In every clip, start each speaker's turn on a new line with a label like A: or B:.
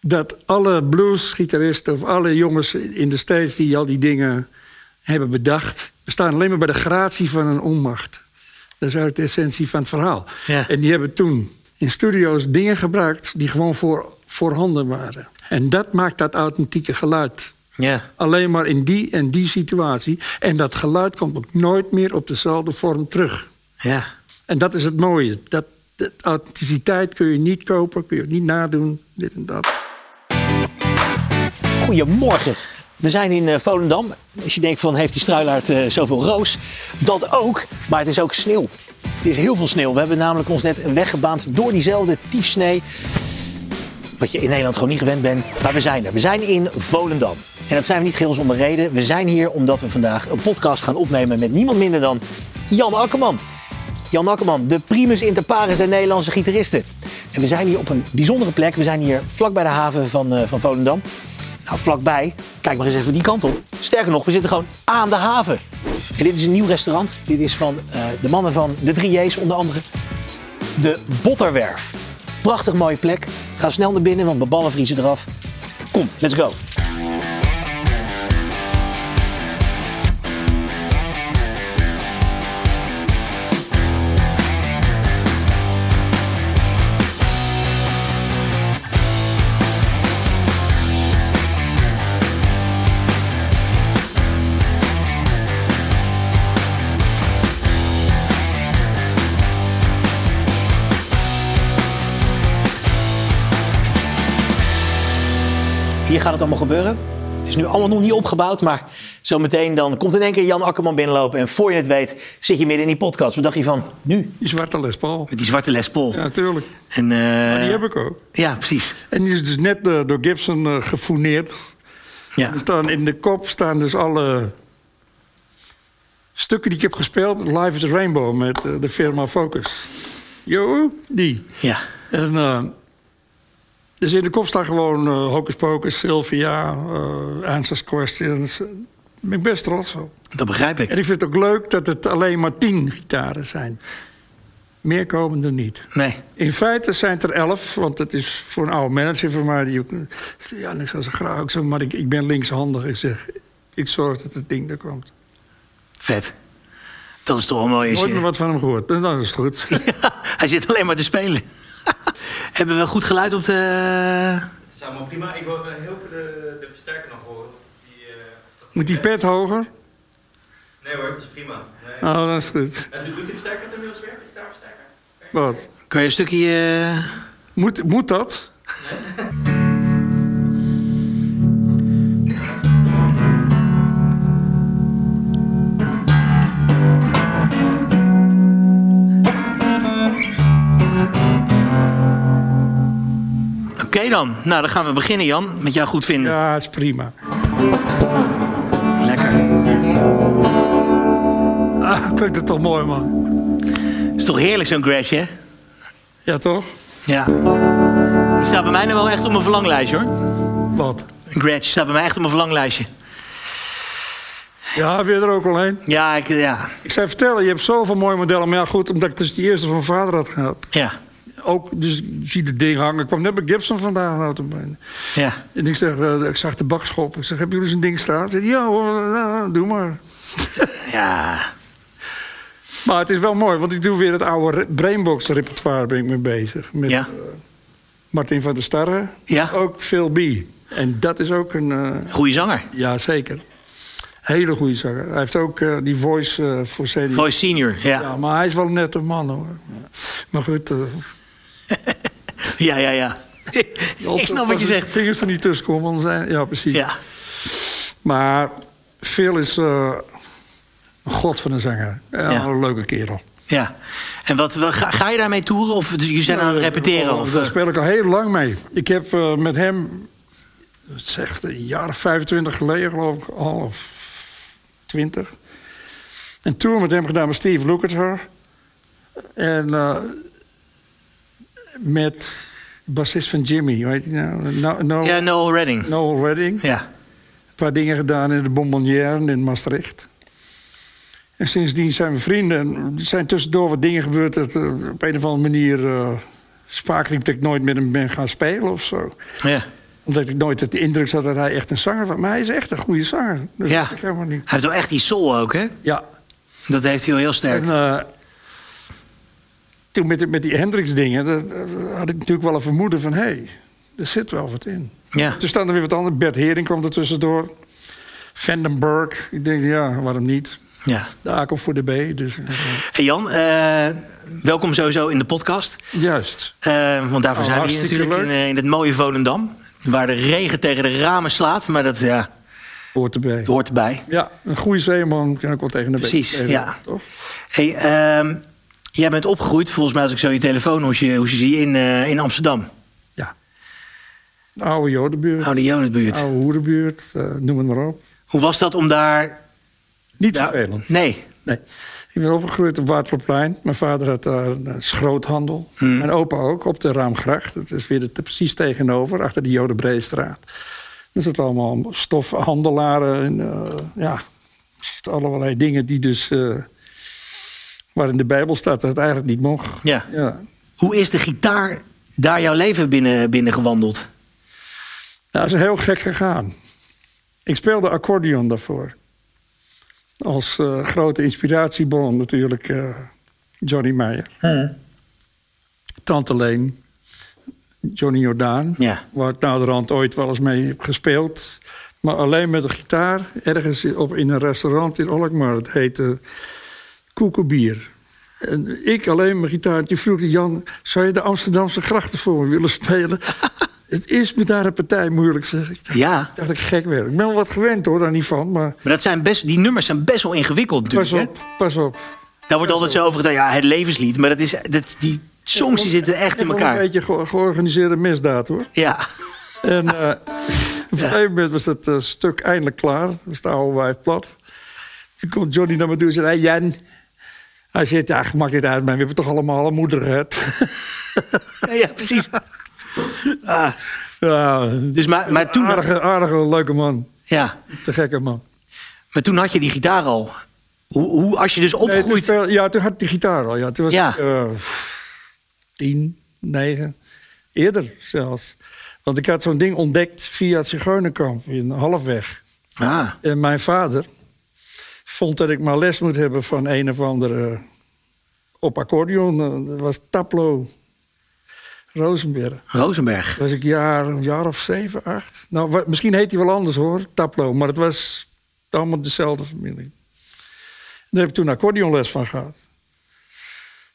A: dat alle bluesgitaristen of alle jongens in de States die al die dingen hebben bedacht, staan alleen maar bij de gratie van een onmacht. Dat is uit de essentie van het verhaal.
B: Ja.
A: En die hebben toen in studio's dingen gebruikt die gewoon voor, voorhanden waren. En dat maakt dat authentieke geluid.
B: Ja.
A: Alleen maar in die en die situatie. En dat geluid komt ook nooit meer op dezelfde vorm terug.
B: Ja.
A: En dat is het mooie. Dat, dat authenticiteit kun je niet kopen, kun je ook niet nadoen, dit en dat.
C: Goedemorgen. We zijn in eh, Volendam. Als je denkt van heeft die struilaard eh, zoveel roos? Dat ook, maar het is ook sneeuw. Er is heel veel sneeuw. We hebben namelijk ons net een weg gebaand door diezelfde tiefsnee. Wat je in Nederland gewoon niet gewend bent. Maar we zijn er. We zijn in Volendam. En dat zijn we niet geheel zonder reden. We zijn hier omdat we vandaag een podcast gaan opnemen met niemand minder dan Jan Akkerman. Jan Akkerman, de primus inter pares der Nederlandse gitaristen. En we zijn hier op een bijzondere plek. We zijn hier vlak bij de haven van, eh, van Volendam. Nou, vlakbij, kijk maar eens even die kant op. Sterker nog, we zitten gewoon aan de haven. En dit is een nieuw restaurant. Dit is van eh, de mannen van de 3J's onder andere. De Botterwerf. Prachtig mooie plek. Ga snel naar binnen, want de ballen vriezen eraf. Kom, let's go. Hier gaat het allemaal gebeuren. Het is nu allemaal nog niet opgebouwd, maar zometeen dan komt in één keer Jan Akkerman binnenlopen. En voor je het weet zit je midden in die podcast. Wat dacht je van nu?
A: Die zwarte Les Paul.
B: Met die zwarte Les Paul.
A: Ja, natuurlijk.
B: En, eh,
A: Die heb ik ook.
B: ja, precies.
A: En die is dus net eh, door Gibson eh, gefouneerd.
B: Ja.
A: Er staan in de kop staan dus alle stukken die ik heb gespeeld. Live is a Rainbow met eh, de firma Focus. Jo, die.
B: Ja.
A: En, eh, dus in de kop staan gewoon eh, Hocus Pocus, Sylvia, eh, Answers Questions. Daar ben ik best trots op.
B: Dat begrijp ik.
A: En ik vind het ook leuk dat het alleen maar tien gitaren zijn. Meer komen er niet.
B: Nee.
A: In feite zijn het er elf, want dat is voor een oude manager van mij. Die ook, ja, ik zou ze graag ook zo, maar ik, ik ben linkshandig. Ik zeg, ik zorg dat het ding er komt.
B: Vet. Dat is toch wel mooi. als
A: Nooit
B: je-
A: meer wat van hem gehoord. Nou, dat is goed.
B: Ja, hij zit alleen maar te spelen. Hebben we goed geluid op de...
D: Het is allemaal prima. Ik wil eh, heel veel de, de versterker nog horen. Die, eh, of dat-
A: Moet die pet hoger?
D: Nee hoor, het is prima. Nee.
A: Nou, dat is goed.
D: En doet die versterker het inmiddels weer? De gitaarversterker?
A: Wat?
B: Kan je een stukje... eh,
A: Moet, moet dat?
B: Oké dan. Nou, dan gaan we beginnen, Jan. Met jou goed vinden.
A: Ja, is prima.
B: Lekker.
A: Ah, klinkt het toch mooi, man.
B: Is toch heerlijk zo'n Grash, hè?
A: Ja, toch?
B: Ja. Die staat bij mij nou wel echt op mijn verlanglijstje, hoor.
A: Wat?
B: Een Grash staat bij mij echt op mijn verlanglijstje.
A: Ja, weer er ook al een.
B: Ja, ik... Ja.
A: Ik zou vertellen, je hebt zoveel mooie modellen. Maar ja, goed, omdat ik dus die eerste van mijn vader had gehad.
B: Ja.
A: Ook, dus ik zie het ding hangen. Ik kwam net bij Gibson vandaan. Nou, te benen.
B: Ja.
A: En ik, zeg, eh, ik zag de bakschop. Ik zeg, hebben jullie zo'n ding staan? Ze zei, ja hoor, nou, doe maar.
B: Ja.
A: Maar het is wel mooi, want ik doe weer het oude re- Brainbox repertoire ben ik mee bezig. Met eh,
B: Ja.
A: Martin van der Starre,
B: Ja.
A: ook Phil B. En dat is ook een, eh,
B: Goeie zanger.
A: ja zeker, hele goede zanger. Hij heeft ook eh, die voice eh, voor CD.
B: Voice senior. Ja.
A: Ja, maar hij is wel net een man hoor. Ja. Maar goed, eh,
B: Ja, ja, ja. ik snap wat je
A: als de
B: zegt.
A: Vingers er niet tussen komen, anders zijn. Ja, precies.
B: Ja.
A: Maar Phil is eh, een god van een zanger. Ja,
B: Ja.
A: Een leuke kerel.
B: Ja. En wat, wat- ga, ga je daarmee toeren? Of je zijn aan het repeteren? Of,
A: Daar
B: eh,
A: speel ik al heel lang mee. Ik heb eh, met hem, het is echt een jaar of 25 geleden geloof ik, al of 20. Een tour met hem gedaan met Steve Lukather. En eh, met bassist van Jimmy, weet je nou? No, no,
B: eh? ja, Noel Redding.
A: Noel Redding.
B: Ja.
A: Een paar dingen gedaan in de Bonbonnière in Maastricht. En sindsdien zijn we vrienden. En Er zijn tussendoor wat dingen gebeurd dat eh, op een of andere manier... eh, spaak liep dat ik nooit met hem ben gaan spelen of zo.
B: ja.
A: Omdat ik nooit de indruk had dat hij echt een zanger was. Maar hij is echt een goede zanger. Dat
B: Ja.
A: is ik helemaal niet.
B: Hij heeft wel echt die soul ook, hè?
A: Ja.
B: Dat heeft hij wel heel sterk.
A: En eh, toen met, die- met die Hendrix-dingen dat, eh, had ik natuurlijk wel een vermoeden van... hé, hey, er zit wel wat in.
B: Ja.
A: Toen staan er weer wat anders. Bert Hering kwam er tussendoor. Vandenberg. Ik denk, ja, waarom niet?
B: ja.
A: De A komt voor de B. Dus, eh,
B: Hey Jan, eh, welkom sowieso in de podcast.
A: juist.
B: Eh, want daarvoor
A: Oh,
B: zijn we hier
A: hartstikke
B: natuurlijk in,
A: leuk.
B: eh, in het mooie Volendam. Waar de regen tegen de ramen slaat, maar dat ja,
A: Hoort erbij.
B: hoort erbij.
A: Ja, een goede zeeman kan ook wel tegen de beek.
B: Precies,
A: spelen,
B: ja.
A: Toch?
B: Hey, ehm, jij bent opgegroeid, volgens mij als ik zo je telefoonhoesje hoesje zie, in, eh, in Amsterdam.
A: Ja. De oude Jodenbuurt,
B: Oude Jodenbuurt.
A: oude Hoerenbuurt, eh, noem het maar op.
B: Hoe was dat om daar...
A: Niet
B: Ja,
A: vervelend.
B: nee.
A: Nee. Ik ben opgegroeid op Waterplein. Mijn vader had daar een eh, schroothandel. Mijn opa ook, op de Raamgracht. Dat is weer de- te- precies tegenover, achter de Jodenbreestraat. Er zitten allemaal stofhandelaren en eh, ja, er zitten allerlei dingen die dus... eh, waar in de Bijbel staat dat het eigenlijk niet mocht.
B: Ja.
A: Ja,
B: Hoe is de gitaar daar jouw leven binnen, binnen gewandeld?
A: Nou, dat is heel gek gegaan. Ik speelde accordeon daarvoor. Als eh, grote inspiratiebron natuurlijk eh, Johnny Meyer. Hmm. Tante Leen, Johnny Jordaan.
B: Ja.
A: Waar ik naderhand ooit wel eens mee heb gespeeld. Maar alleen met de gitaar. Ergens op, in een restaurant in Alkmaar. Het heette Koekenbier. En ik alleen mijn gitaar. Die vroeg die Jan, zou je de Amsterdamse grachten voor me willen spelen? het is me daar een partij moeilijk, zeg ik. Ik
B: Ja.
A: dacht dat ik gek werd. Ik ben wel wat gewend hoor, daar niet van. Maar
B: Maar dat zijn best, die nummers zijn best wel ingewikkeld natuurlijk.
A: pas
B: hè?
A: op, pas op.
B: Daar wordt altijd zo over gedaan, ja, het levenslied. Maar dat is, dat, die songs die zitten echt in
A: Gewoon Een
B: elkaar.
A: beetje ge- georganiseerde misdaad hoor.
B: Ja,
A: En eh, op een gegeven moment was dat eh, stuk eindelijk klaar. We was de oude wijf plat. Toen komt Johnny naar me toe en zei... Hey Jan. Hij zegt, ja, maakt niet uit, maar we hebben toch allemaal een moeder gehad.
B: ja precies. Ah,
A: ja, een
B: dus maar, maar, toen,
A: aardige, aardige, leuke man.
B: ja,
A: Te gekke man.
B: maar toen had je die gitaar al. Hoe, hoe, als je dus
A: Nee, toen
B: opgroeit...
A: speel- ja, toen had ik die gitaar al. Ja. Toen was
B: Ja.
A: ik eh, tien, negen, eerder zelfs. Want ik had zo'n ding ontdekt via het Zigeunerkamp in Halfweg.
B: Ah,
A: En mijn vader vond dat ik maar les moet hebben van een of andere op accordeon. Eh, Dat was Taplo Rosenberg.
B: Rosenberg.
A: Dat was ik jaar, een jaar of zeven, acht. Nou, wa- misschien heet hij wel anders hoor, Taplo. Maar het was allemaal dezelfde familie. Daar heb ik toen accordeonles van gehad.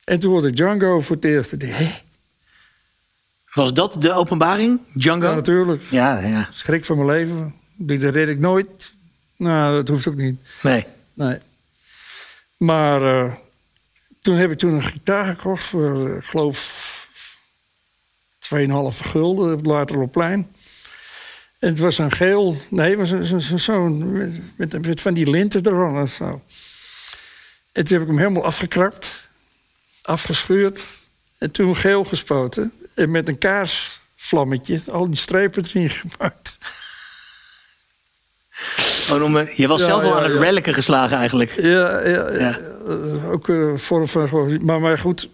A: En toen hoorde ik Django voor het eerst. Ik dacht, Hé,
B: Was dat de openbaring,
A: ja,
B: Django?
A: natuurlijk.
B: Ja, ja.
A: Schrik van mijn leven. Dat red ik nooit. Nou, dat hoeft ook niet.
B: Nee.
A: Nee. Maar eh, toen heb ik toen een gitaar gekocht voor, eh, ik geloof, 2,5 gulden op het Laterloopplein. En het was een geel, nee, het was een- zo'n zo'n- zo'n- met, met van die linten eronder en zo. En toen heb ik hem helemaal afgekrapt, afgeschuurd en toen geel gespoten. En met een kaarsvlammetje al die strepen erin gemaakt.
B: Gewoon om, eh, je was
A: Ja,
B: zelf al
A: ja,
B: aan het
A: ja.
B: reliken geslagen eigenlijk.
A: Ja, ja, ja.
B: Ja.
A: Dat is ook eh, een vorm van... gewoon- Maar, maar goed,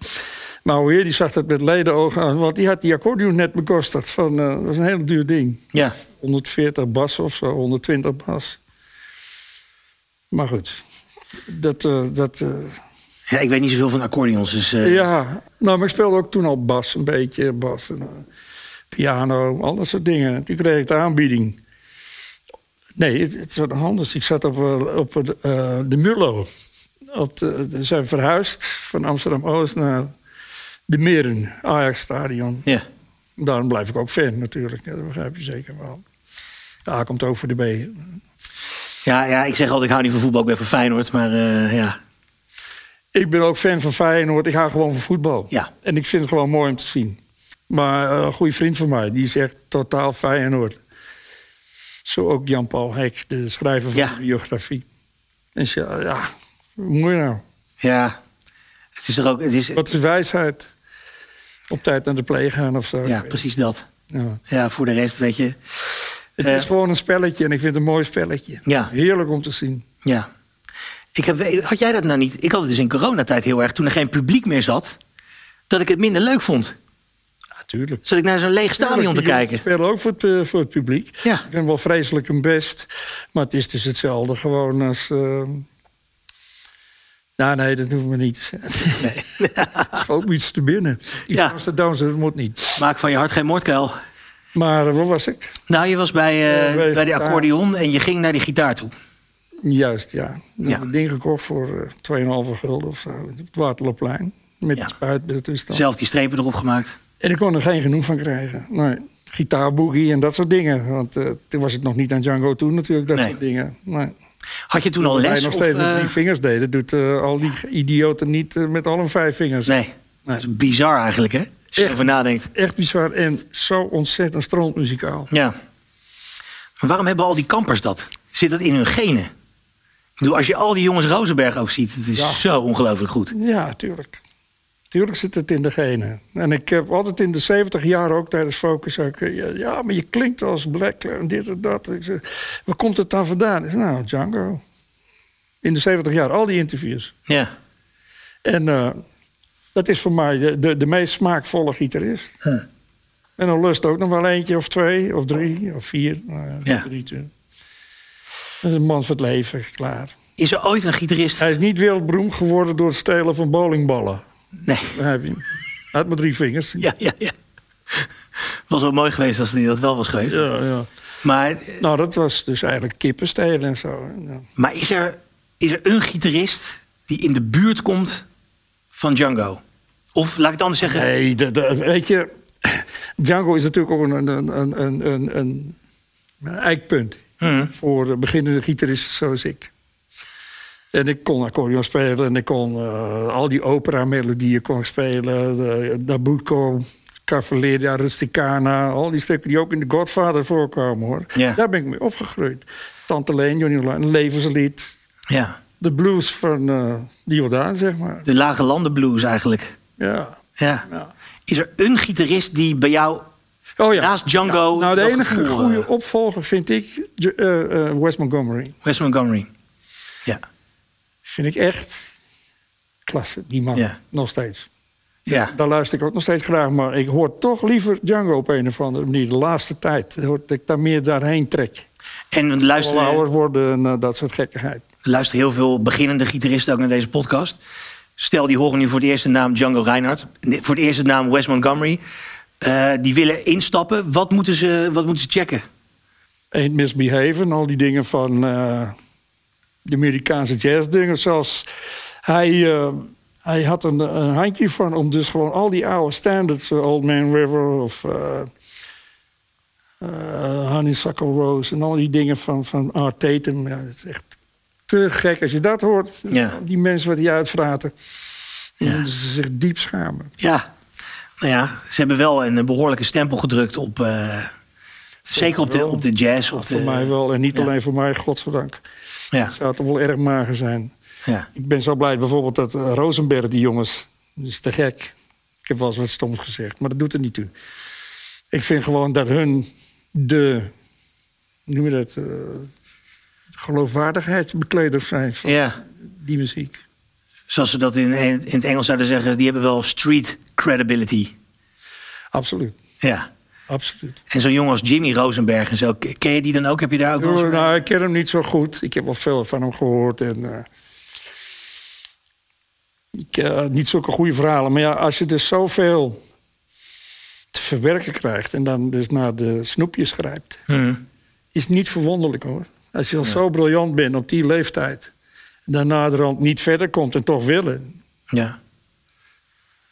A: Mauweer die zag dat met ledenogen aan. Want die had die accordeon net bekostigd. Van, eh, dat was een heel duur ding.
B: Ja.
A: 140 bas of zo, 120 bas. Maar goed, dat... eh, dat eh,
B: ja. Ik weet niet zoveel van accordeons, dus... eh,
A: ja, nou, maar ik speelde ook toen al bas, een beetje bas. En, eh, piano, al dat soort dingen. Toen kreeg ik de aanbieding. Nee, het, het was nog anders. Ik zat op, eh, op het, eh, de Mullo. Op de, ze zijn verhuisd van Amsterdam-Oost naar de Meren, Ajax-stadion.
B: ja.
A: Daarom blijf ik ook fan natuurlijk, Ja, dat begrijp je zeker wel. De A komt over de B.
B: Ja, ja, ik zeg altijd, ik hou niet van voetbal, ik ben van Feyenoord, maar eh, ja.
A: Ik ben ook fan van Feyenoord. Ik hou gewoon van voetbal.
B: Ja.
A: En ik vind het gewoon mooi om te zien. Maar eh, een goede vriend van mij, die is echt totaal Feyenoord. Zo ook Jan-Paul Hek, de schrijver van
B: Ja.
A: de biografie. En ze, ja, hoe moet je nou?
B: Ja, het is er ook, het is,
A: Wat is wijsheid? Op tijd naar de pleeg gaan of zo.
B: ja, precies dat.
A: Ja.
B: Ja, voor de rest, weet je,
A: Het
B: Eh.
A: is gewoon een spelletje en ik vind het een mooi spelletje.
B: Ja.
A: Heerlijk om te zien.
B: ja. Ik heb, had jij dat nou niet? Ik had het dus in coronatijd heel erg, toen er geen publiek meer zat, dat ik het minder leuk vond.
A: Ja, tuurlijk.
B: Zat ik naar zo'n leeg stadion te
A: Tuurlijk, die jongens
B: kijken.
A: spelen ook voor het, eh, voor het publiek.
B: Ja.
A: Ik ben wel vreselijk hun best. Maar het is dus hetzelfde gewoon als... eh, Nou, nee, dat hoeven we niet te zeggen. Schoot me iets te binnen. Iets
B: Ja.
A: ja. Amsterdams, dat moet niet.
B: Maak van je hart geen moordkuil.
A: Maar eh, waar was ik?
B: Nou, je was bij, eh,
A: Ja, bij
B: bij die
A: gitaar.
B: accordeon en je ging naar die gitaar toe.
A: Juist, ja. Ik
B: Ja.
A: heb een ding gekocht voor eh 2,5 gulden of zo. Op het Waterloopplein. Met
B: Ja.
A: de spuit bij de toestand.
B: Zelf die strepen erop gemaakt.
A: En ik kon er geen genoeg van krijgen. Nee, gitaarboogie en dat soort dingen. Want eh, toen was het nog niet aan Django toe natuurlijk, dat
B: Nee.
A: soort dingen. Nee.
B: Had je toen al
A: Wat wij
B: les?
A: nog
B: of,
A: steeds met
B: eh,
A: drie vingers deden, dat doet eh, al die idioten niet eh, met allen vijf vingers.
B: nee, dat is bizar eigenlijk, hè? Als je
A: Echt.
B: erover nadenkt.
A: Echt bizar en zo ontzettend strontmuzikaal.
B: Ja. Maar waarom hebben al die kampers dat? Zit dat in hun genen? Ik bedoel, als je al die jongens Rozenberg ook ziet, het is
A: Ja.
B: zo ongelooflijk goed.
A: Ja, tuurlijk. Tuurlijk zit het in de genen. En ik heb altijd in de 70 jaar ook tijdens Focus... Ook, eh, ja, ja, maar je klinkt als Black en dit en dat. Ik zeg, waar komt het dan vandaan? Ik zeg, nou, Django. In de 70 jaar, al die interviews.
B: Ja.
A: En eh, dat is voor mij de, de, de meest smaakvolle gitarist. En dan lust ook nog wel eentje of twee, of drie, of vier. Nou ja,
B: Ja.
A: drie, twee. Dat is een man van het leven, klaar.
B: Is er ooit een gitarist?
A: Hij is niet wereldberoemd geworden door het stelen van bowlingballen.
B: Nee.
A: Begrijp je? Hij had maar drie vingers.
B: Ja, ja, ja. Was wel mooi geweest als hij dat wel was geweest.
A: Ja, ja.
B: Maar, eh,
A: Nou, dat was dus eigenlijk kippenstelen en zo. Ja.
B: maar is, er, is er een gitarist die in de buurt komt van Django? Of laat ik het anders zeggen.
A: Nee, dat- dat- weet je, Django is natuurlijk ook een, een, een, een, een, een eikpunt
B: Mhm.
A: voor eh, beginnende gitaristen zoals ik. En ik kon accordeon spelen en ik kon eh, al die opera-melodieën kon ik spelen. De, Nabucco, Cavalleria, Rusticana, al die stukken die ook in The Godfather voorkomen hoor.
B: Ja.
A: Daar ben ik mee opgegroeid. Tante Leen, Johnny Laan, Levenslied,
B: Ja,
A: de blues van eh Jordaan, zeg maar.
B: de lage landen blues eigenlijk.
A: Ja.
B: Ja.
A: Ja.
B: Is er een gitarist die bij jou
A: Oh ja.
B: naast Django.
A: Nou, de
B: dat
A: enige
B: gevoel,
A: goede
B: eh,
A: opvolger vind ik J- eh, eh, Wes Montgomery.
B: Wes Montgomery. Ja.
A: Vind ik echt klasse, die man.
B: Ja.
A: Nog steeds.
B: ja.
A: Daar luister ik ook nog steeds graag, maar ik hoor toch liever Django op een of andere manier. De laatste tijd hoor dat ik daar meer daarheen trek.
B: En
A: Al ouder
B: luisteren,
A: worden en eh, dat soort gekkigheid.
B: luisteren heel veel beginnende gitaristen ook naar deze podcast. Stel, die horen nu voor het eerst de naam Django Reinhardt. nee, Voor het eerst de naam Wes Montgomery. Eh, die willen instappen. Wat moeten ze, wat moeten ze checken?
A: Ain't Misbehaven, al die dingen van eh, de Amerikaanse jazzdingen. Zoals hij, eh, hij had een, een handje van om dus gewoon al die oude standards, eh, Old Man River of eh eh, Honeysuckle Rose en al die dingen van, van Art Tatum. Ja, dat is echt te gek als je dat hoort.
B: Ja.
A: Die mensen wat die uitvraten.
B: Ja.
A: Ja. Ze zich diep schamen.
B: Ja. Nou ja, ze hebben wel een behoorlijke stempel gedrukt op. eh, zeker op de, op de jazz. Op de,
A: Voor mij wel. En niet
B: eh, ja.
A: alleen voor mij, godzijdank.
B: Ja.
A: Het zou toch wel erg mager zijn.
B: ja.
A: Ik ben zo blij bijvoorbeeld dat eh, Rosenberg, die jongens, dat is te gek. Ik heb wel eens wat stoms gezegd, maar dat doet er niet toe. Ik vind gewoon dat hun de, hoe noem je dat, eh, geloofwaardigheidsbekleders zijn van
B: ja.
A: die muziek.
B: Zoals ze dat in, in het Engels zouden zeggen, die hebben wel street credibility.
A: Absoluut,
B: Ja.
A: absoluut.
B: En zo'n jongen als Jimmy Rosenberg en zo, ken je die dan ook? Heb je daar ook wel eens-
A: Oh, nou, ik ken hem niet zo goed. Ik heb wel veel van hem gehoord. En, eh, ik, eh, niet zulke goede verhalen. Maar ja, als je dus zoveel te verwerken krijgt... en dan dus naar de snoepjes grijpt...
B: Hm.
A: is niet verwonderlijk hoor. Als je al zo briljant bent op die leeftijd... dan naderhand niet verder komt en toch willen...
B: Ja.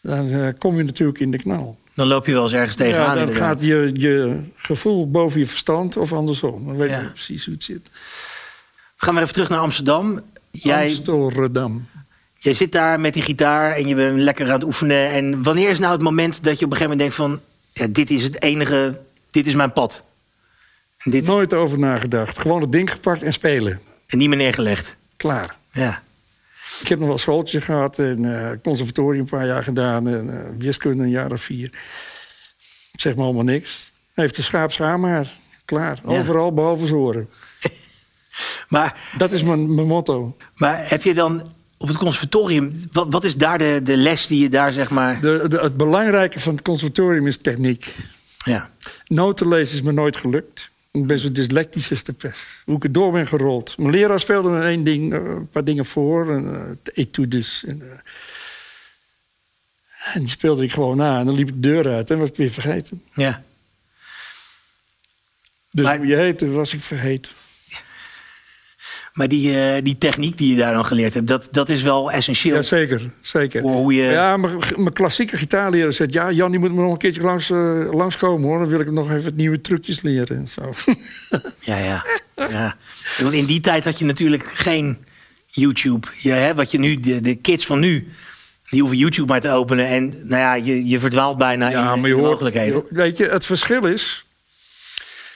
A: dan eh, kom je natuurlijk in de knal.
B: Dan loop je wel eens ergens tegenaan.
A: ja, dan
B: inderdaad.
A: gaat je, je gevoel boven je verstand of andersom. Dan weet
B: Ja.
A: je precies hoe het zit.
B: We gaan weer even terug naar Amsterdam. Jij,
A: Amsterdam.
B: jij zit daar met die gitaar en je bent lekker aan het oefenen. En wanneer is nou het moment dat je op een gegeven moment denkt van... Ja, dit is het enige, dit is mijn pad. En, dit,
A: Nooit over nagedacht. Gewoon het ding gepakt en spelen.
B: en niet meer neergelegd.
A: Klaar.
B: Ja.
A: Ik heb nog wel schooltje gehad en eh conservatorium een paar jaar gedaan en eh, wiskunde een jaar of vier. Zeg maar allemaal niks. Heeft de schaap schaamhaar. Klaar.
B: Ja.
A: Overal behalve zoren.
B: Maar,
A: Dat is mijn, mijn motto.
B: maar heb je dan op het conservatorium, wat, wat is daar de, de les die je daar zeg maar...
A: De, de, het belangrijke van het conservatorium is techniek.
B: Ja,
A: Noten lezen is me nooit gelukt. Ik ben zo dyslectisch als de pest. Hoe ik er door ben gerold. Mijn leraar speelde me één ding, eh, een paar dingen voor. En, eh, het etudes. En, eh, en die speelde ik gewoon na. En dan liep ik de deur uit en was het weer vergeten.
B: ja.
A: Dus
B: Maar-
A: hoe je heette was ik vergeten.
B: Maar die, eh, die techniek die je daar dan geleerd hebt, dat, dat is wel essentieel.
A: Ja, zeker. zeker.
B: Voor hoe eh, je-
A: Ja, mijn mijn klassieke gitaarleraar zegt... ja, Jan, die moet me nog een keertje langs, eh, langskomen, hoor. Dan wil ik hem nog even wat nieuwe trucjes leren en zo.
B: Ja, ja. ja. Want in die tijd had je natuurlijk geen YouTube. Je, hè, wat je nu, de, de kids van nu, die hoeven YouTube maar te openen. En nou ja, je, je verdwaalt bijna
A: Ja,
B: in,
A: maar
B: in
A: je
B: de
A: hoort,
B: mogelijkheden.
A: je- weet je, het verschil is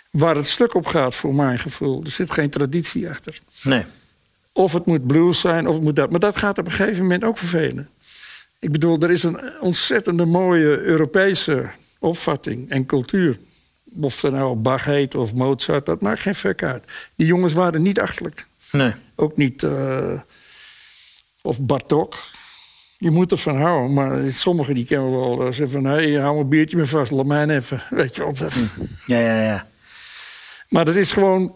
A: waar het stuk op gaat voor mijn gevoel. Er zit geen traditie achter.
B: Nee.
A: Of het moet blues zijn, of het moet dat. Maar dat gaat op een gegeven moment ook vervelen. Ik bedoel, er is een ontzettende mooie Europese opvatting en cultuur. Of er nou Bach heet of Mozart, dat maakt geen fuck uit. Die jongens waren niet achterlijk.
B: Nee.
A: Ook niet. eh, of Bartok. Je moet er van houden, maar sommigen die kennen we wel. eh, Zeggen van, hé, hey, hou een biertje me vast, laat mij even. Weet je wel. dat-
B: Ja, ja, ja.
A: Maar dat is gewoon...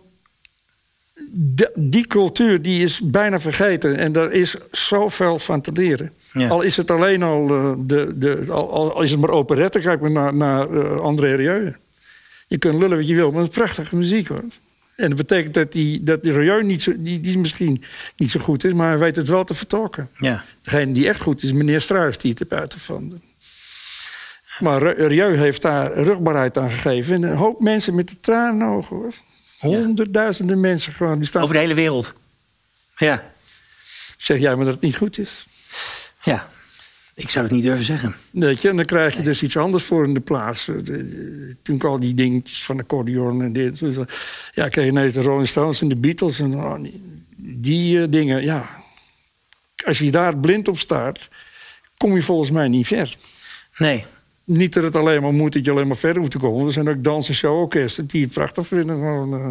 A: de- die cultuur die is bijna vergeten. En daar is zoveel van te leren.
B: Ja.
A: Al is het alleen al... eh, de, de, al, al- al is het maar operette, kijk maar naar, naar eh, André Rieu. Je kunt lullen wat je wil, maar het is prachtige muziek hoor. En dat betekent dat die, dat die Rieu niet zo, die, die misschien niet zo goed is... maar hij weet het wel te vertolken.
B: ja.
A: Degene die echt goed is, meneer Struis, die het heeft uitgevonden. Maar Ri- Rieu heeft daar rugbaarheid aan gegeven. En een hoop mensen met de tranen in de ogen, hoor. Honderdduizenden mensen gewoon. Die staan.
B: Over de hele wereld. Ja.
A: Zeg jij maar dat het niet goed is.
B: Ja. Ik zou het niet durven zeggen.
A: Weet je, en dan krijg je dus iets anders voor in de plaats. Eh, de- de- Toen ik al die dingetjes van accordeon en dit. dus, eh, ja, kreeg je ineens de Rolling Stones en de Beatles en oh, die, die eh, dingen. Ja, als je daar blind op staat, kom je volgens mij niet ver.
B: Nee.
A: Niet dat het alleen maar moet dat je alleen maar verder hoeft te komen. Er zijn ook dans- en showorkesten die het prachtig vinden. Gewoon, eh,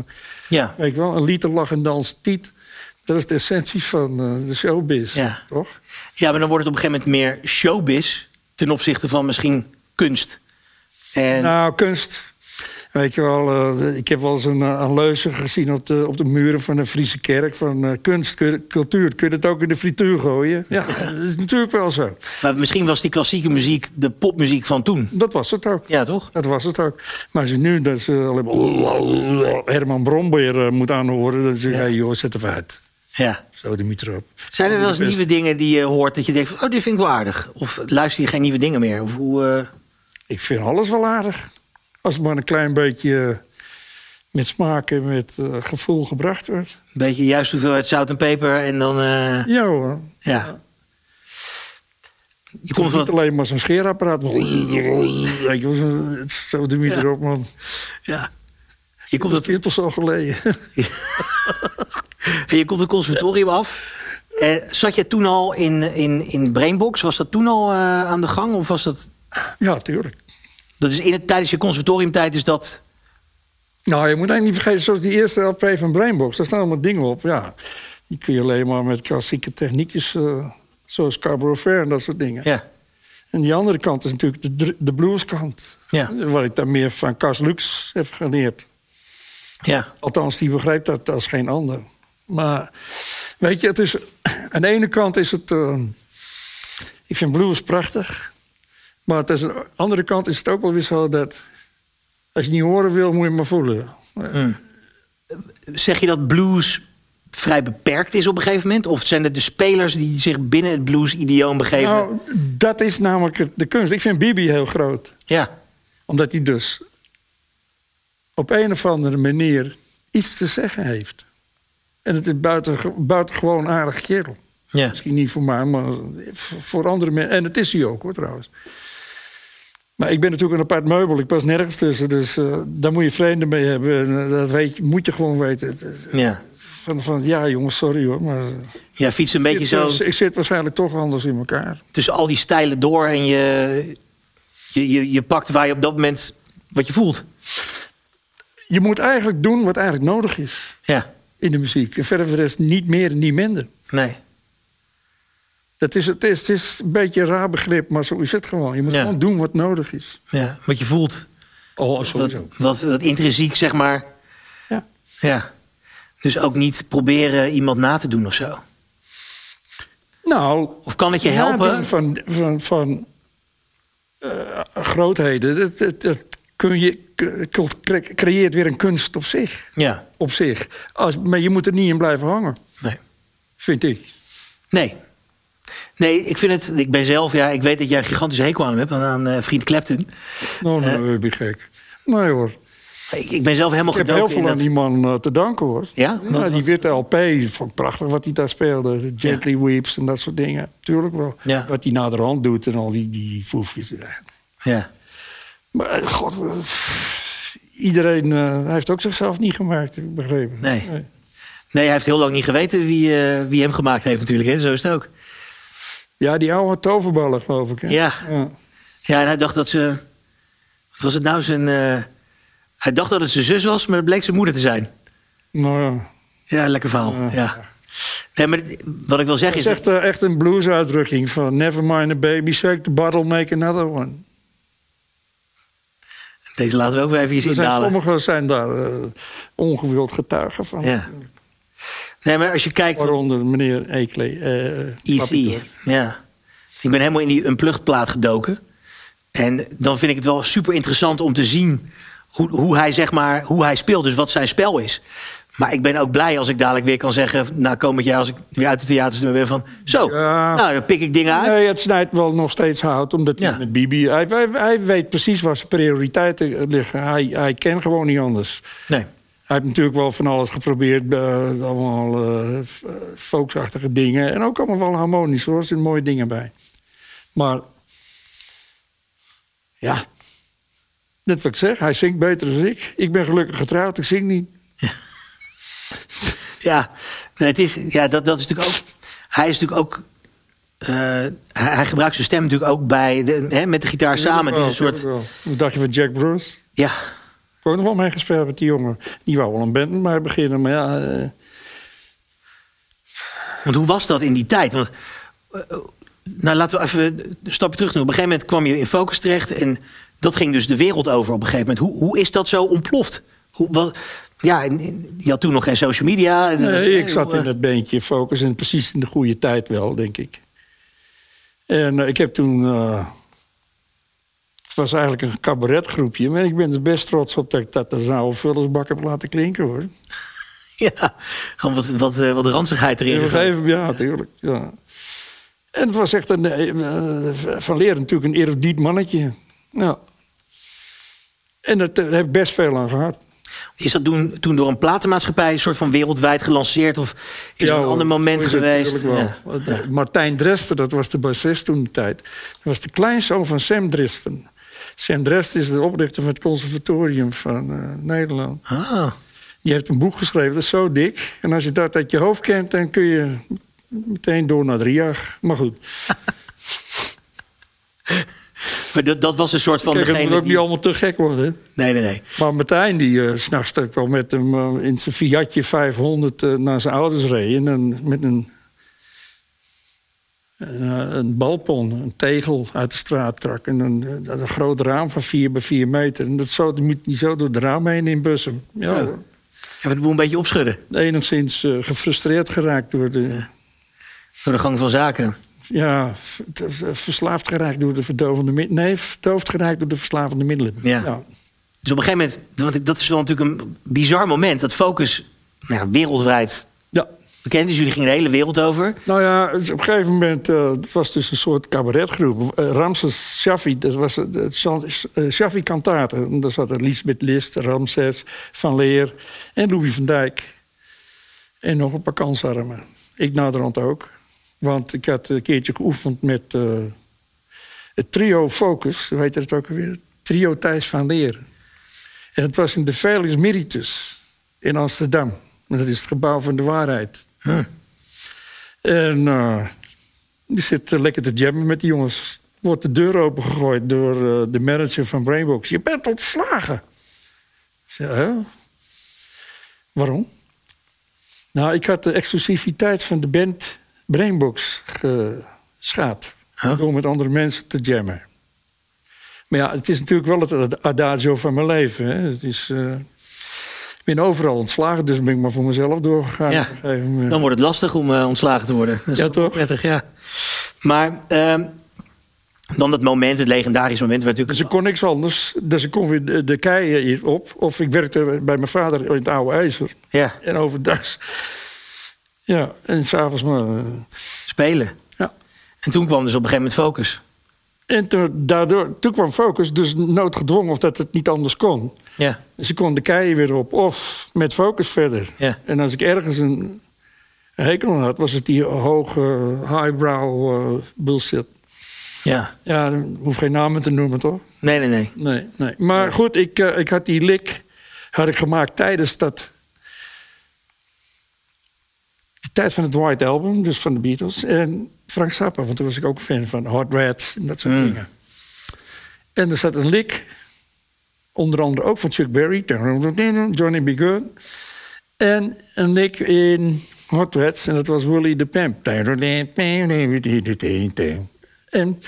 B: Ja.
A: weet je wel, een liter lach en dans, tiet. Dat is de essentie van eh, de showbiz,
B: Ja.
A: toch?
B: Ja, maar dan wordt het op een gegeven moment meer showbiz ten opzichte van misschien kunst. En
A: Nou, kunst. Weet je wel, eh, ik heb wel eens een, eh, een leuze gezien op de, op de muren van de Friese kerk. Van eh, kunst, kun- cultuur, kun je het ook in de frituur gooien? Ja, dat is natuurlijk wel zo.
B: maar misschien was die klassieke muziek de popmuziek van toen.
A: Dat was het ook.
B: Ja, toch?
A: Dat was het ook. Maar als je nu dat ze alleen maar Herman Brombeer eh, moet aanhoren, dan zeg je, hey, joh, zet even uit.
B: Ja.
A: Zo de mieter op.
B: Zijn er wel eens
A: Best.
B: nieuwe dingen die je hoort dat je denkt van, oh, dit vind ik wel aardig? Of luister je geen nieuwe dingen meer? Of hoe, eh,
A: Ik vind alles wel aardig. Als het maar een klein beetje eh, met smaak en met eh, gevoel gebracht wordt.
B: een beetje juist hoeveelheid zout en peper en dan, eh,
A: Ja hoor.
B: ja. Je
A: Het
B: komt
A: is
B: van
A: niet
B: het,
A: alleen maar zo'n scheerapparaat. Weet je wel, zo- het is zo de mieter op, man.
B: ja. je komt
A: Dat
B: het,
A: is toch zo geleden.
B: je komt het conservatorium af. Eh, zat je toen al in, in, in Brainbox? Was dat toen al eh, aan de gang? Of was dat,
A: ja, tuurlijk.
B: dat is in het, tijdens je conservatoriumtijd is dat...
A: Nou, je moet eigenlijk niet vergeten, zoals die eerste LP van Brainbox, daar staan allemaal dingen op. Ja, die kun je alleen maar met klassieke techniekjes, eh, zoals Carbon Fair en dat soort dingen.
B: Ja,
A: En die andere kant is natuurlijk de, dr- de blueskant.
B: ja,
A: Wat ik dan meer van Cas Lux heb geleerd.
B: ja.
A: Althans, die begrijpt dat als geen ander. Maar weet je, het is, aan de ene kant is het. eh, ik vind blues prachtig. Maar het is, aan de andere kant is het ook wel weer zo dat. Als je niet horen wil, moet je maar voelen.
B: Zeg je dat blues vrij beperkt is op een gegeven moment? Of zijn het de spelers die zich binnen het blues-idioom begeven?
A: Nou, dat is namelijk het- de kunst. Ik vind Bibi heel groot.
B: Ja,
A: Omdat hij dus op een of andere manier iets te zeggen heeft. En het is buiten, buitengewoon aardig kerel.
B: ja.
A: Misschien niet voor mij, maar voor andere mensen. En het is hij ook hoor trouwens. Maar ik ben natuurlijk een apart meubel. Ik pas nergens tussen. Dus eh, daar moet je vreemden mee hebben. En, eh, dat weet, je- moet je gewoon weten. Het is
B: Ja.
A: Van, van, ja jongens, sorry hoor. Maar
B: Ja, fiets een beetje
A: ik,
B: zo
A: ik zit waarschijnlijk toch anders in elkaar.
B: tussen al die stijlen door en je, je, je, je pakt waar je op dat moment wat je voelt.
A: Je moet eigenlijk doen wat eigenlijk nodig is
B: Ja,
A: in de muziek. En verder voor de rest niet meer en niet minder.
B: nee.
A: Dat is, het, is, het is een beetje een raar begrip, maar zo is het gewoon. Je moet
B: Ja.
A: gewoon doen wat nodig is.
B: Ja, wat je voelt.
A: Oh,
B: Wat, wat, wat intrinsiek, zeg maar.
A: Ja.
B: Ja. Dus ook niet proberen iemand na te doen of zo.
A: Nou,
B: Of kan het je helpen?
A: nadoen Van, van, van eh, grootheden, dat, dat, dat kun je, cre- creëert weer een kunst op zich.
B: Ja.
A: Op zich. Als, maar je moet er niet in blijven hangen,
B: Nee.
A: vind ik.
B: Nee. Nee, ik vind het. Ik ben zelf, ja, ik weet dat jij een gigantische hekel aan hem hebt, aan eh, vriend Clapton.
A: Nou, nou, ben je gek. Nee hoor.
B: Ik, ik ben zelf helemaal
A: Ik heb heel
B: gedoken in
A: veel aan
B: dat.
A: die man eh, te danken hoor.
B: Ja? Wat-
A: die
B: wat-
A: witte LP, vond ik prachtig wat hij daar speelde. Gently Weeps en dat soort dingen. Tuurlijk wel.
B: Ja.
A: Wat hij naderhand doet en al die, die foefjes.
B: Ja.
A: Maar eh, god, eh, pff, iedereen eh, hij heeft ook zichzelf niet gemaakt, heb ik begrepen.
B: Nee. Nee, hij heeft heel lang niet geweten wie, eh, wie hem gemaakt heeft, natuurlijk. Hè? Zo is het ook.
A: Ja, die oude toverballen, geloof ik. Hè?
B: Ja. Ja, en hij dacht dat ze. Wat was het nou zijn. eh, hij dacht dat het zijn zus was, maar het bleek zijn moeder te zijn.
A: Nou ja.
B: Ja, lekker verhaal. Ja. Nee, maar wat ik wil zeggen
A: Het
B: is.
A: is echt, eh, echt een blues-uitdrukking van... Never mind a baby, shake the bottle, make another one.
B: dat- Deze laten we ook weer even iets
A: Er zijn
B: indalen.
A: sommigen zijn daar eh, ongewild getuigen van.
B: Ja. Nee, maar als je kijkt.
A: Waaronder meneer Eekle. eh,
B: EC.
A: Clapperton.
B: Ja. Ik ben helemaal in die unplugged plaat gedoken. En dan vind ik het wel super interessant om te zien hoe, hoe hij zeg maar, hoe hij speelt, dus wat zijn spel is. Maar ik ben ook blij als ik dadelijk weer kan zeggen, na komend jaar als ik weer uit de theaters ben van, zo,
A: Ja.
B: nou dan pik ik dingen uit.
A: Nee, het snijdt wel nog steeds hout, omdat hij
B: Ja.
A: met Bibi... Hij, hij, hij weet precies waar zijn prioriteiten liggen. Hij, hij kent gewoon niet anders.
B: Nee.
A: Hij heeft natuurlijk wel van alles geprobeerd. eh, allemaal eh, f- eh, folksachtige dingen. En ook allemaal wel harmonisch hoor. Er zitten mooie dingen bij. Maar ja, net wat ik zeg. Hij zingt beter dan ik. Ik ben gelukkig getrouwd. Ik zing niet.
B: Ja, nee, het is, ja dat, dat is natuurlijk ook. Hij is natuurlijk ook. eh, hij, hij gebruikt zijn stem natuurlijk ook bij de, hè, met de gitaar samen. Het is een soort.
A: Wel, wel. Wat dacht je van Jack Bruce?
B: Ja,
A: Ik heb ook nog wel mee gespeeld met die jongen. Die wou wel een band met mij beginnen. Maar ja, eh,
B: want hoe was dat in die tijd? Want. eh, eh, nou, laten we even een stapje terug doen. Op een gegeven moment kwam je in Focus terecht. En dat ging dus de wereld over op een gegeven moment. Hoe, hoe is dat zo ontploft? Hoe, wat, ja, en- en je had toen nog geen social media.
A: Nee, ik zat
B: Hoe,
A: in
B: eh,
A: dat beentje Focus en precies in de goede tijd wel, denk ik. En eh, ik heb toen... eh, het was eigenlijk een cabaretgroepje, maar ik ben er best trots op dat ik dat als een oude vullersbak heb laten klinken, hoor.
B: Ja, gewoon wat, wat, eh, wat ranzigheid erin.
A: Ja,
B: gegooid.
A: gegeven, ja, tuurlijk. Ja. En het was echt een... eh, eh, van Leer natuurlijk een erudiet mannetje. Ja. En daar heb ik best veel aan gehad.
B: Is dat toen, toen door een platenmaatschappij een soort van wereldwijd gelanceerd? Of is er een
A: hoor,
B: ander moment
A: is het
B: geweest?
A: natuurlijk
B: Ja.
A: wel. Want, eh, Martijn Dresden, dat was de bassist toen de tijd. Dat was de kleinzoon van Sam Dresden. Sam Dresden is de oprichter van het conservatorium van eh, Nederland.
B: Ah,
A: Die heeft een boek geschreven, dat is zo dik. En als je dat uit je hoofd kent, dan kun je meteen door naar drie jaar. Maar goed,
B: maar dat, dat was een soort van
A: kijk, het moet
B: degene
A: ook niet
B: die...
A: allemaal te gek worden. hè.
B: Nee, nee, nee.
A: Maar Martijn, die eh, 's s'nachts wel met hem eh, in zijn Fiatje 500 eh, naar zijn ouders reed. En dan met een, een, eh, een balpon, een tegel uit de straat trak. En een, eh, dat een groot raam van 4 bij 4 meter. En dat zo, die moet niet zo door het raam heen in Bussum. Ja,
B: Zo.
A: hoor.
B: Even de boel een beetje opschudden
A: enigszins eh, gefrustreerd geraakt door de...
B: door de gang van zaken.
A: Ja, v- t- eh, verslaafd geraakt door de verdovende middelen. Nee, verdoofd geraakt door de verslavende middelen.
B: Ja. Dus op een gegeven moment, want ik- dat is wel natuurlijk een bizar moment. Dat Focus nou, ja, wereldwijd
A: ja.
B: bekend is. Jullie gingen de hele wereld over.
A: Nou ja, dus op een gegeven moment, eh, het was dus een soort cabaretgroep. Eh, Ramses Shaffi, dat was het- het Jean- eh, Shaffi Kantate. En Daar zat Elisabeth List, Ramses, Van Leer en Louis van Dijk. En nog een paar kansarmen. Ik naderhand ook. Want ik had een keertje geoefend met eh, het trio Focus. Hoe heette het ook alweer? Trio Thijs van Leer. En het was in de Veilings Meritus in Amsterdam. En dat is het gebouw van de waarheid. En eh, die zit eh, lekker te jammen met die jongens. Wordt de deur opengegooid door eh, de manager van Brainbox. Je bent ontslagen. Ik zei, hè? Waarom? Nou, ik had de exclusiviteit van de band Brainbox ge- schaat.
B: Huh?
A: Door met andere mensen te jammen. Maar ja, het is natuurlijk wel het ad- adagio van mijn leven. Hè. Het is, eh, ik ben overal ontslagen, dus ben ik maar voor mezelf doorgegaan.
B: Ja.
A: op een gegeven moment.
B: Dan wordt het lastig om eh, ontslagen te worden. Dat is
A: Ja,
B: ook wel
A: toch?
B: Prettig, ja. Maar ehm, dan dat moment, het legendarisch moment, waar
A: Dus
B: natuurlijk
A: ik kon niks anders. Dus ik kon weer de, de keien hier op. Of ik werkte bij mijn vader in het oude ijzer.
B: ja,
A: En overdag. Ja, en s'avonds maar. eh,
B: spelen.
A: Ja.
B: En toen kwam dus op een gegeven moment focus.
A: En toen, daardoor, toen kwam Focus, dus noodgedwongen of dat het niet anders kon.
B: Ja,
A: Dus ik kon de keien weer op. Of met Focus verder.
B: ja,
A: En als ik ergens een een hekel aan had, was het die hoge highbrow eh, bullshit.
B: ja.
A: Ja, dan hoef geen namen te noemen, toch?
B: Nee, nee, nee.
A: Nee, nee. Maar goed, ik, eh, ik had die lik had ik gemaakt tijdens dat... De tijd van het White Album, dus van de Beatles. En Frank Zappa, want toen was ik ook fan van Hot Rats en dat soort
B: Mm.
A: dingen. En er zat een lik, onder andere ook van Chuck Berry, Johnny B. Good. En een lik in Hot Rats, en dat was Willy the Pimp. En...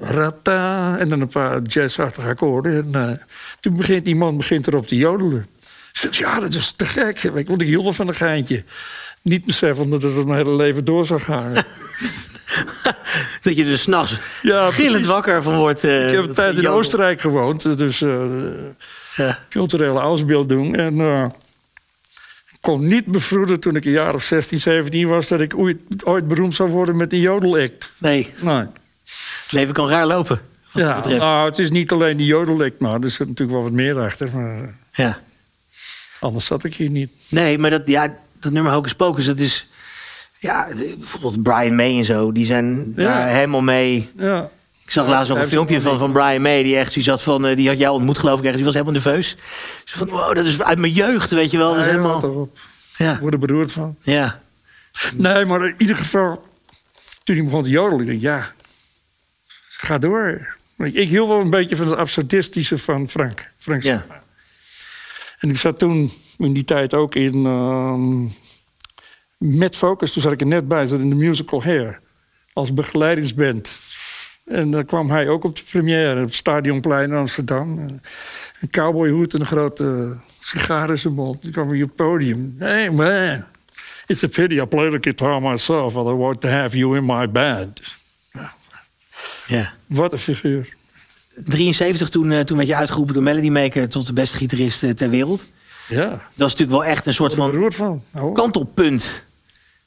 A: Rata, en dan een paar jazzachtige akkoorden. En eh, toen begint die man begint erop te jodelen. Ik zeg, ja, dat is te gek. zeg ik, Want ik hield wel van een geintje. Niet beseffende dat het mijn hele leven door zou gaan.
B: Dat je er s'nachts
A: Ja,
B: gillend
A: precies.
B: wakker van wordt. eh,
A: ik heb een
B: dat
A: tijd in
B: jodel.
A: Oostenrijk gewoond. Dus eh,
B: Ja.
A: culturele ausbeeld doen. En eh, ik kon niet bevroeden toen ik een jaar of 16, 17 was... dat ik ooit, ooit beroemd zou worden met een jodelact.
B: Nee,
A: Nee.
B: het leven kan raar lopen. Wat
A: Ja,
B: dat betreft.
A: nou, het is niet alleen die jodelact, maar er zit natuurlijk wel wat meer achter. Maar eh,
B: Ja.
A: anders zat ik hier niet.
B: Nee, maar dat, ja, dat nummer Hocus Pocus, dat is... Ja, bijvoorbeeld Brian May en zo, die zijn
A: Ja.
B: daar helemaal mee...
A: Ja,
B: Ik zag laatst nog een
A: Hij heeft
B: filmpje van, van Brian May, die echt zoiets had van... eh, die had jou ontmoet, geloof ik, ergens. Die was helemaal nerveus. Ze van, wow, dat is uit mijn jeugd, weet je wel. Dat is
A: Nee,
B: helemaal...
A: wat erop.
B: Ja,
A: Ik word er beroerd van.
B: ja,
A: Nee, maar in ieder geval, toen hij begon te jodelen, ik dacht, ja, ga door. Ik, ik hield wel een beetje van het absurdistische van Frank. Frank
B: ja.
A: En ik zat toen in die tijd ook in. ehm, met Focus, toen zat ik er net bij, zat in de musical Hair. Als begeleidingsband. En daar kwam hij ook op de première op het Stadionplein in Amsterdam. Eh, Een cowboyhoed en een grote sigaar in zijn mond. Die kwam hier op het podium. Hey man, it's a pity I play the guitar myself. I want to have you in my band.
B: ja.
A: Wat een figuur.
B: 73, toen, eh, toen werd je uitgeroepen door Melody Maker... tot de beste gitarist eh, ter wereld.
A: Ja,
B: Dat is natuurlijk wel echt een soort van
A: beroerd van. Oh.
B: kantelpunt.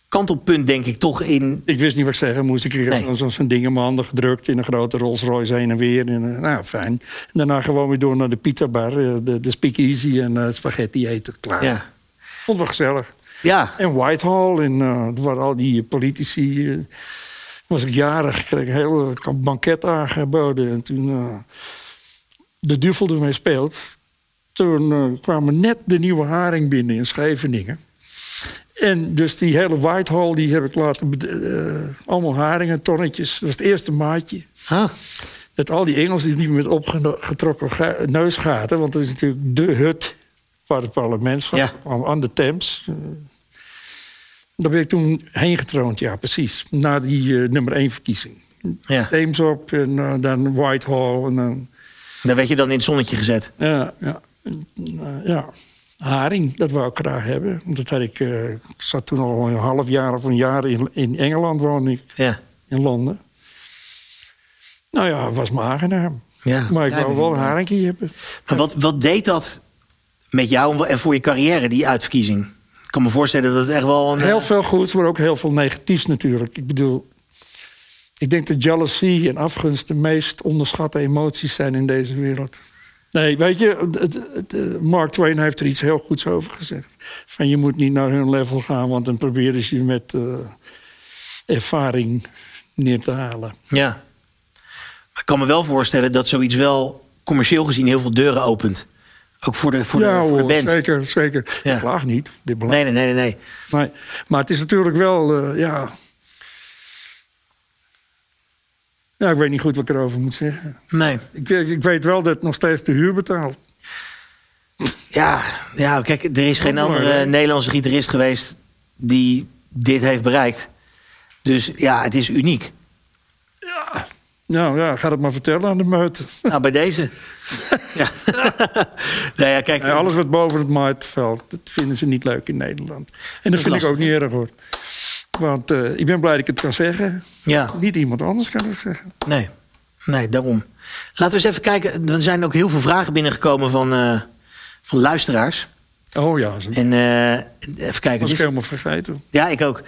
B: Kantelpunt, denk ik, toch in...
A: Ik wist niet wat ik zeggen moest. Ik kreeg
B: Nee.
A: zo'n- zo'n ding in mijn handen gedrukt in een grote Rolls Royce heen en weer. En, eh, nou, fijn. En daarna gewoon weer door naar de pizzabar, eh, de, de speakeasy en eh, spaghetti eten. Klaar.
B: Ja,
A: Vond het wel gezellig.
B: ja.
A: En Whitehall en eh, waar al die politici... eh, was ik jarig, kreeg een heel banket aangeboden. En toen eh, de duvel ermee speelt... toen eh, kwamen net de nieuwe haring binnen in Scheveningen. En dus die hele Whitehall die heb ik laten... bed- eh, allemaal haringen, tonnetjes. Dat was het eerste maatje.
B: Ah,
A: Dat al die Engelsen die liepen met opgetrokken ga- neusgaten. Want dat is natuurlijk de hut waar het parlement van
B: Ja.
A: aan- aan de Thames. Eh, Daar ben ik toen heen getroond, ja, precies. Na die eh, nummer 1 verkiezing.
B: ja.
A: Thames op en eh, dan Whitehall. En, dan
B: Daar werd je dan in het zonnetje gezet.
A: ja, ja, En, eh, ja. Haring, dat wou ik graag hebben. Want dat had ik, eh, ik zat toen al een half jaar of een jaar in, in Engeland, woonde ik
B: Ja,
A: in Londen. Nou ja, was me aangenaam.
B: ja.
A: Maar ik
B: Ja,
A: wou wel een haringje hebben.
B: Maar wat, wat deed dat met jou en voor je carrière, die uitverkiezing? Ik kan me voorstellen dat het echt wel een... eh,
A: Heel veel goeds, maar ook heel veel negatiefs natuurlijk. Ik bedoel, ik denk dat jealousy en afgunst de meest onderschatte emoties zijn in deze wereld. Nee, weet je, het- het- het, eh, Mark Twain heeft er iets heel goeds over gezegd. Van je moet niet naar hun level gaan, want dan proberen ze je met eh, ervaring neer te halen.
B: Ja. Maar ik kan me wel voorstellen dat zoiets wel commercieel gezien heel veel deuren opent. Ook voor de, voor
A: ja,
B: de, voor
A: hoor,
B: de band.
A: zeker, zeker.
B: Ja.
A: Ik klaag niet, dit belangrijk.
B: Nee, nee, nee, nee, nee.
A: Maar, maar het is natuurlijk wel, eh, ja... Ja, ik weet niet goed wat ik erover moet zeggen.
B: Nee.
A: Ik, weet- ik weet wel dat nog steeds de huur betaalt.
B: Ja, ja, kijk, er is geen
A: mooi,
B: andere
A: hè? eh,
B: Nederlandse gitarist geweest die dit heeft bereikt. Dus ja, het is uniek.
A: Ja. Nou ja, ga dat maar vertellen aan de meut.
B: Nou, bij deze. ja. nou ja, kijk.
A: Nee, alles wat boven het marktveld, dat vinden ze niet leuk in Nederland. En dat vind
B: lastig,
A: ik ook niet erg hoor. Want eh, ik ben blij dat ik het kan zeggen.
B: Ja,
A: Niet iemand anders kan het zeggen.
B: nee. Nee, daarom. Laten we eens even kijken. Er zijn ook heel veel vragen binnengekomen van, eh, van luisteraars.
A: Oh ja, dat
B: En eh, even kijken.
A: was ik
B: Dit,
A: helemaal vergeten.
B: ja, ik ook.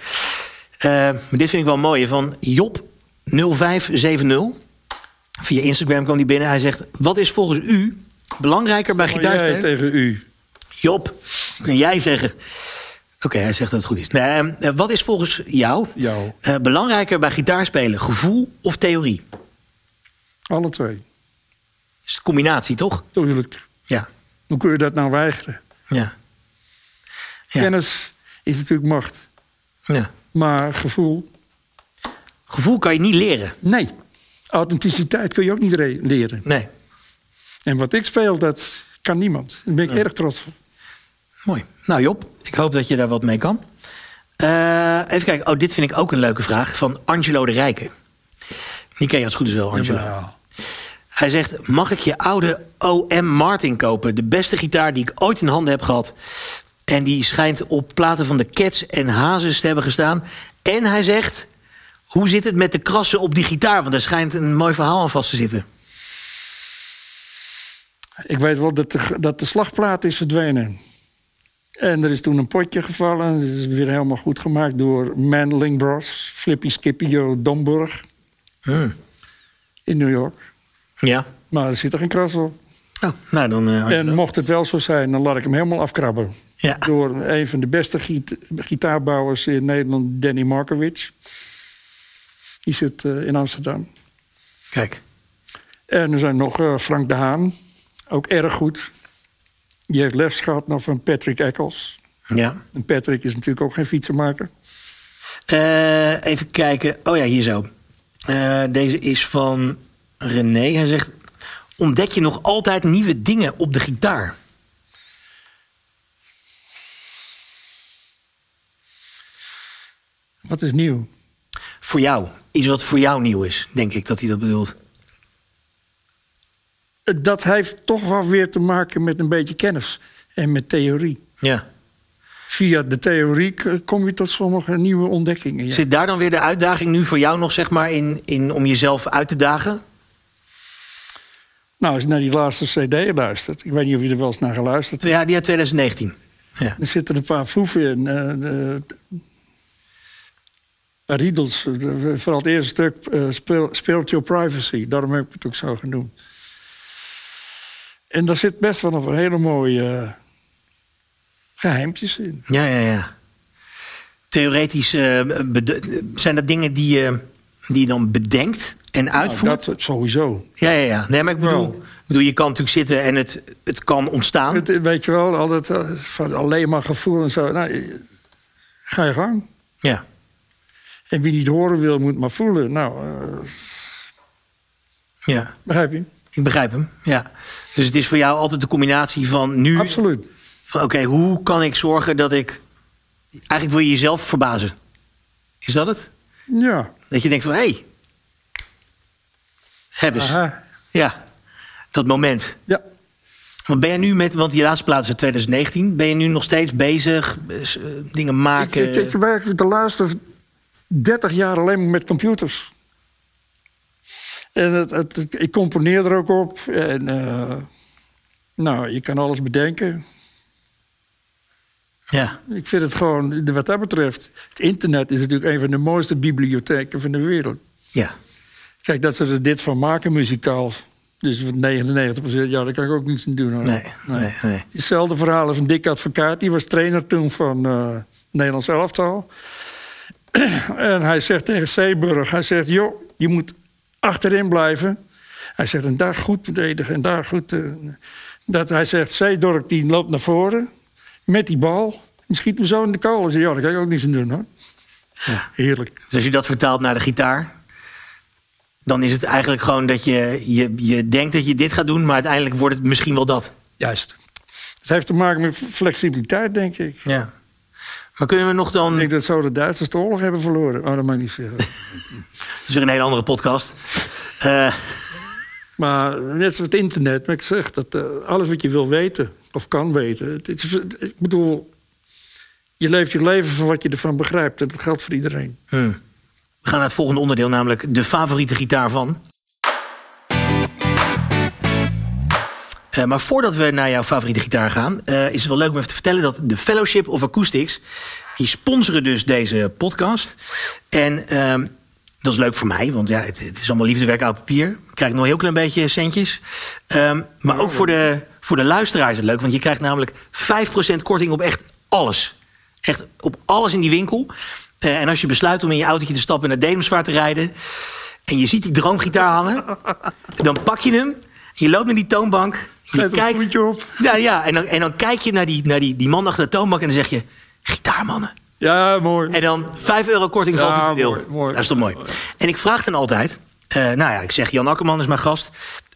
B: Eh, maar dit vind ik wel mooi. Van Job 0570. Via Instagram kwam die binnen. Hij zegt: Wat is volgens u belangrijker bij
A: Maar jij
B: gitaarspelen?
A: tegen u.
B: Job, kun jij zeggen. Oké, hij zegt dat het goed is. Nee, eh, wat is volgens jou
A: Jou.
B: eh, belangrijker bij gitaarspelen? Gevoel of theorie? Dat
A: Alle twee.
B: is de combinatie, toch?
A: Tuurlijk.
B: Ja.
A: Hoe kun je dat nou weigeren?
B: ja. Ja.
A: Kennis is natuurlijk macht.
B: ja.
A: Maar gevoel,
B: Gevoel kan je niet leren.
A: nee. Authenticiteit kun je ook niet re- leren.
B: Nee.
A: En wat ik speel, dat kan niemand. Daar ben ik erg trots op.
B: Mooi. Nou Job, ik hoop dat je daar wat mee kan. Eh, even kijken. Oh, dit vind ik ook een leuke vraag. Van Angelo de Rijken. Die ken je als het goed is wel, Angelo.
A: Ja.
B: Hij zegt: Mag ik je oude OM Martin kopen? De beste gitaar die ik ooit in handen heb gehad. En die schijnt op platen van de Cats en Hazes te hebben gestaan. En hij zegt: Hoe zit het met de krassen op die gitaar? Want er schijnt een mooi verhaal aan vast te zitten.
A: Ik weet wel dat de, dat de slagplaat is verdwenen. En er is toen een potje gevallen. en Dat is weer helemaal goed gemaakt door Mandeling Bros. Flippy Scipio Domburg
B: Hmm.
A: in New York.
B: Ja.
A: Maar er zit er geen kras op.
B: Oh, nou dan. eh,
A: En mocht het wel zo zijn, dan laat ik hem helemaal afkrabben.
B: ja.
A: Door een van de beste giet- gitaarbouwers in Nederland, Danny Markovic. Die zit eh, in Amsterdam.
B: Kijk.
A: En er zijn nog eh, Frank de Haan, ook erg goed. Die heeft les gehad nog van Patrick Eccles.
B: Ja.
A: En Patrick is natuurlijk ook geen fietsenmaker.
B: Eh, even kijken. Oh ja, hier zo. Eh, deze is van René. Hij zegt: Ontdek je nog altijd nieuwe dingen op de gitaar?
A: Wat is nieuw?
B: Voor jou. Iets wat voor jou nieuw is, denk ik dat hij dat bedoelt.
A: Eh, Dat heeft toch wel weer te maken met een beetje kennis en met theorie.
B: Ja.
A: Via de theorie k- kom je tot sommige nieuwe ontdekkingen. ja.
B: Zit daar dan weer de uitdaging nu voor jou nog, zeg maar, in, in om jezelf uit te dagen?
A: Nou, als je naar die laatste CD luistert, ik weet niet of je er wel eens naar geluisterd
B: Ja, die uit 2019. Ja.
A: Er zitten een paar foeven in. eh, de- een paar riedels. eh, de- Vooral het eerste stuk, eh, Spir- Spiritual Privacy. Daarom heb ik het ook zo genoemd. En daar zit best wel een hele mooie eh, geheimpjes in.
B: Ja, ja, ja. Theoretisch eh, bede- eh, zijn dat dingen die je, die je dan bedenkt en
A: Nou,
B: uitvoert. Oh.
A: dat sowieso.
B: Ja, ja, ja. Nee, maar ik bedoel,
A: Wel.
B: ik bedoel je kan natuurlijk zitten en het, het kan ontstaan.
A: Het, eh, weet je wel, altijd eh, van alleen maar gevoel en zo. Nou, eh, ga je gang.
B: Ja.
A: En wie niet horen wil, moet maar voelen. Nou, eh,
B: ja,
A: begrijp je?
B: ik begrijp hem. Ja. Dus het is voor jou altijd de combinatie van nu.
A: Absoluut.
B: Van oké, hoe kan ik zorgen dat ik. Eigenlijk wil je jezelf verbazen. Is dat het?
A: Ja.
B: Dat je denkt van hé. Hey, heb eens.
A: Aha.
B: Ja, dat moment.
A: Ja.
B: Want ben je nu met, want die laatste plaats uit 2019, ben je nu nog steeds bezig eh, s- eh, dingen maken?
A: Ik, ik, ik werk de laatste 30 jaar alleen maar met computers. En het, het, ik componeer er ook op. En, eh, nou, je kan alles bedenken.
B: Ja,
A: Ik vind het gewoon, wat dat betreft... het internet is natuurlijk een van de mooiste bibliotheken van de wereld.
B: ja,
A: Kijk, dat ze er dit van maken muzikaal... dus van 99 ja, daar kan ik ook niets aan doen. Hoor.
B: nee, nee, nee.
A: Hetzelfde verhaal als een dik advocaat. Die was trainer toen van eh Nederlands elftal. en hij zegt tegen Zeeburg, hij zegt, joh, je moet achterin blijven. Hij zegt, en daar goed verdedigen en daar goed... eh, dat hij zegt, Zeedorp die loopt naar voren met die bal. En schiet hem zo in de kolen. Ik zeg, Ja, daar kan ik ook niets aan doen hoor. Heerlijk.
B: Dus als je dat vertaalt naar de gitaar, dan is het eigenlijk gewoon dat je, je, je denkt dat je dit gaat doen, maar uiteindelijk wordt het misschien wel dat.
A: Juist. Het heeft te maken met flexibiliteit, denk ik.
B: Ja. Maar kunnen we nog dan...
A: Ik denk dat zo de Duitsers de oorlog hebben verloren. Oh, dat mag ik niet zeggen.
B: Dat is weer een hele andere podcast. Eh,
A: Maar net zoals het internet, maar ik zeg dat eh, alles wat je wil weten of kan weten. Het is, ik bedoel, je leeft je leven van wat je ervan begrijpt. En dat geldt voor iedereen.
B: hmm. We gaan naar het volgende onderdeel, namelijk de favoriete gitaar van. Eh, maar voordat we naar jouw favoriete gitaar gaan, eh, is het wel leuk om even te vertellen dat de Fellowship of Acoustics, die sponsoren dus deze podcast. En ehm, dat is leuk voor mij, want ja, het, het is allemaal liefdewerk uit papier. Ik krijg nog een heel klein beetje centjes. Ehm, maar ook voor de, voor de luisteraar is het leuk, want je krijgt namelijk 5% korting op echt alles. Echt op alles in die winkel. Eh, en als je besluit om in je autootje te stappen en naar Denemsvaart te rijden, en je ziet die droomgitaar hangen, dan pak je hem, je loopt naar die toonbank, je
A: Zet een
B: kijkt,
A: voetje op.
B: ja, ja. En, dan, en dan kijk je naar, die, naar die, die man achter de toonbank en dan zeg je... Gitaarmannen.
A: Ja, mooi.
B: En dan 5 euro korting valt
A: Ja,
B: ja, te deel.
A: mooi, mooi.
B: Dat is toch mooi. En ik vraag dan altijd... eh, nou ja, ik zeg, Jan Akkerman is mijn gast.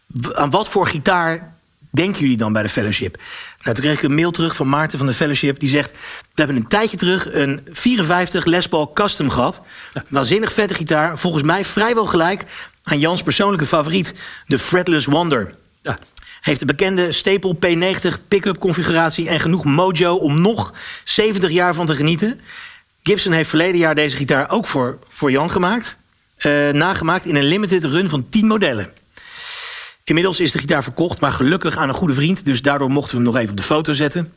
B: w- Aan wat voor gitaar denken jullie dan bij de fellowship? Nou, toen kreeg ik een mail terug van Maarten van de fellowship. Die zegt, we hebben een tijdje terug een 54 Les Paul Custom gehad. Waanzinnig vette gitaar. Volgens mij vrijwel gelijk aan Jans persoonlijke favoriet. De Fretless Wonder.
A: Ja.
B: Heeft de bekende Staple P90 pick-up configuratie en genoeg mojo om nog 70 jaar van te genieten. Gibson heeft verleden jaar deze gitaar ook voor, voor Jan gemaakt. eh, nagemaakt in een limited run van 10 modellen. Inmiddels is de gitaar verkocht, maar gelukkig aan een goede vriend. Dus daardoor mochten we hem nog even op de foto zetten.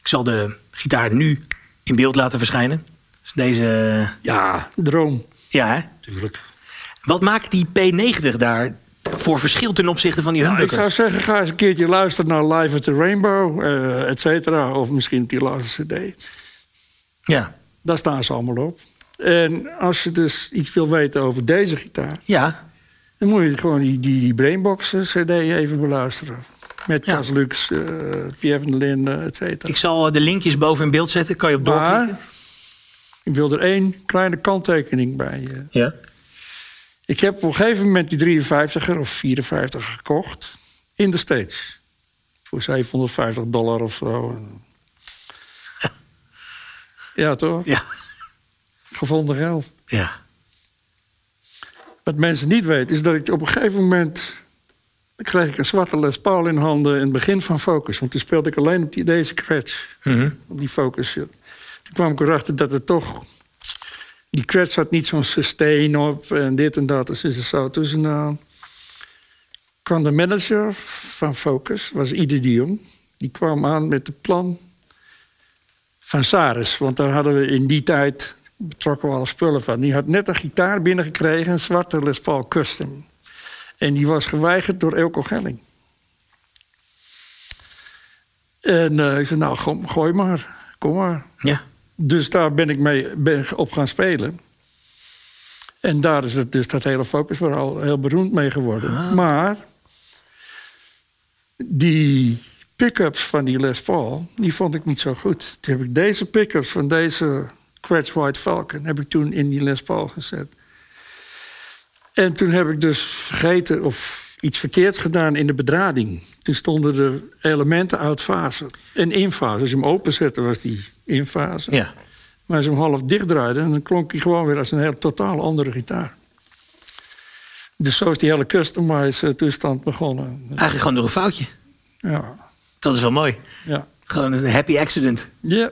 B: Ik zal de gitaar nu in beeld laten verschijnen. Dus deze.
A: ja, droom.
B: Ja, hè?
A: Tuurlijk.
B: Wat maakt die P90 daar voor verschil ten opzichte van die
A: ik
B: humbucker?
A: zou zeggen, ga eens een keertje luisteren naar Live at the Rainbow, eh et cetera. Of misschien die laatste cd.
B: Ja,
A: Daar staan ze allemaal op. En als je dus iets wil weten over deze gitaar...
B: ja.
A: Dan moet je gewoon die, die, die Brainbox eh, CD even beluisteren. Met
B: Ja.
A: Cas Lux, eh, Pierre van der Linden, et cetera.
B: Ik zal eh, de linkjes boven in beeld zetten. Kan je op doorklikken?
A: Maar ik wil er één kleine kanttekening bij. eh.
B: Ja.
A: Ik heb op een gegeven moment die 53er of 54 gekocht. In de States. Voor 750 dollar of zo. Ja, toch?
B: Ja.
A: Gevonden geld.
B: Ja.
A: Wat mensen niet weten, is dat ik op een gegeven moment... dan kreeg ik een zwarte Les Paul in handen in het begin van Focus. Want toen speelde ik alleen op die, deze scratch.
B: Mhm.
A: Op die Focus. ja. Toen kwam ik erachter dat het toch... Die scratch had niet zo'n sustain op en dit en dat. Dus is het zo. Dus nou, kwam de manager van Focus, was Ide de Jong. Die kwam aan met het plan van Saris. Want daar hadden we in die tijd betrokken we alle spullen van. Die had net een gitaar binnengekregen, een zwarte Les Paul Custom. En die was geweigerd door Elko Gelling. En eh, ik zei, nou, go- gooi maar, kom maar.
B: Ja.
A: Dus daar ben ik mee ben op gaan spelen. En daar is het, dus dat hele focus weer al heel beroemd mee geworden. Maar die pick-ups van die Les Paul, die vond ik niet zo goed. Toen heb ik deze pick-ups van deze Cratch White Falcon... heb ik toen in die Les Paul gezet. En toen heb ik dus vergeten of iets verkeerds gedaan in de bedrading. Toen stonden de elementen uit fase en in fase. Als je hem openzette was die in fase.
B: Ja.
A: Maar als je hem half dicht draaide, dan klonk hij gewoon weer als een heel totaal andere gitaar. Dus zo is die hele customized eh, toestand begonnen.
B: Eigenlijk gewoon door een foutje.
A: Ja,
B: Dat is wel mooi.
A: ja.
B: Gewoon een happy accident.
A: Ja,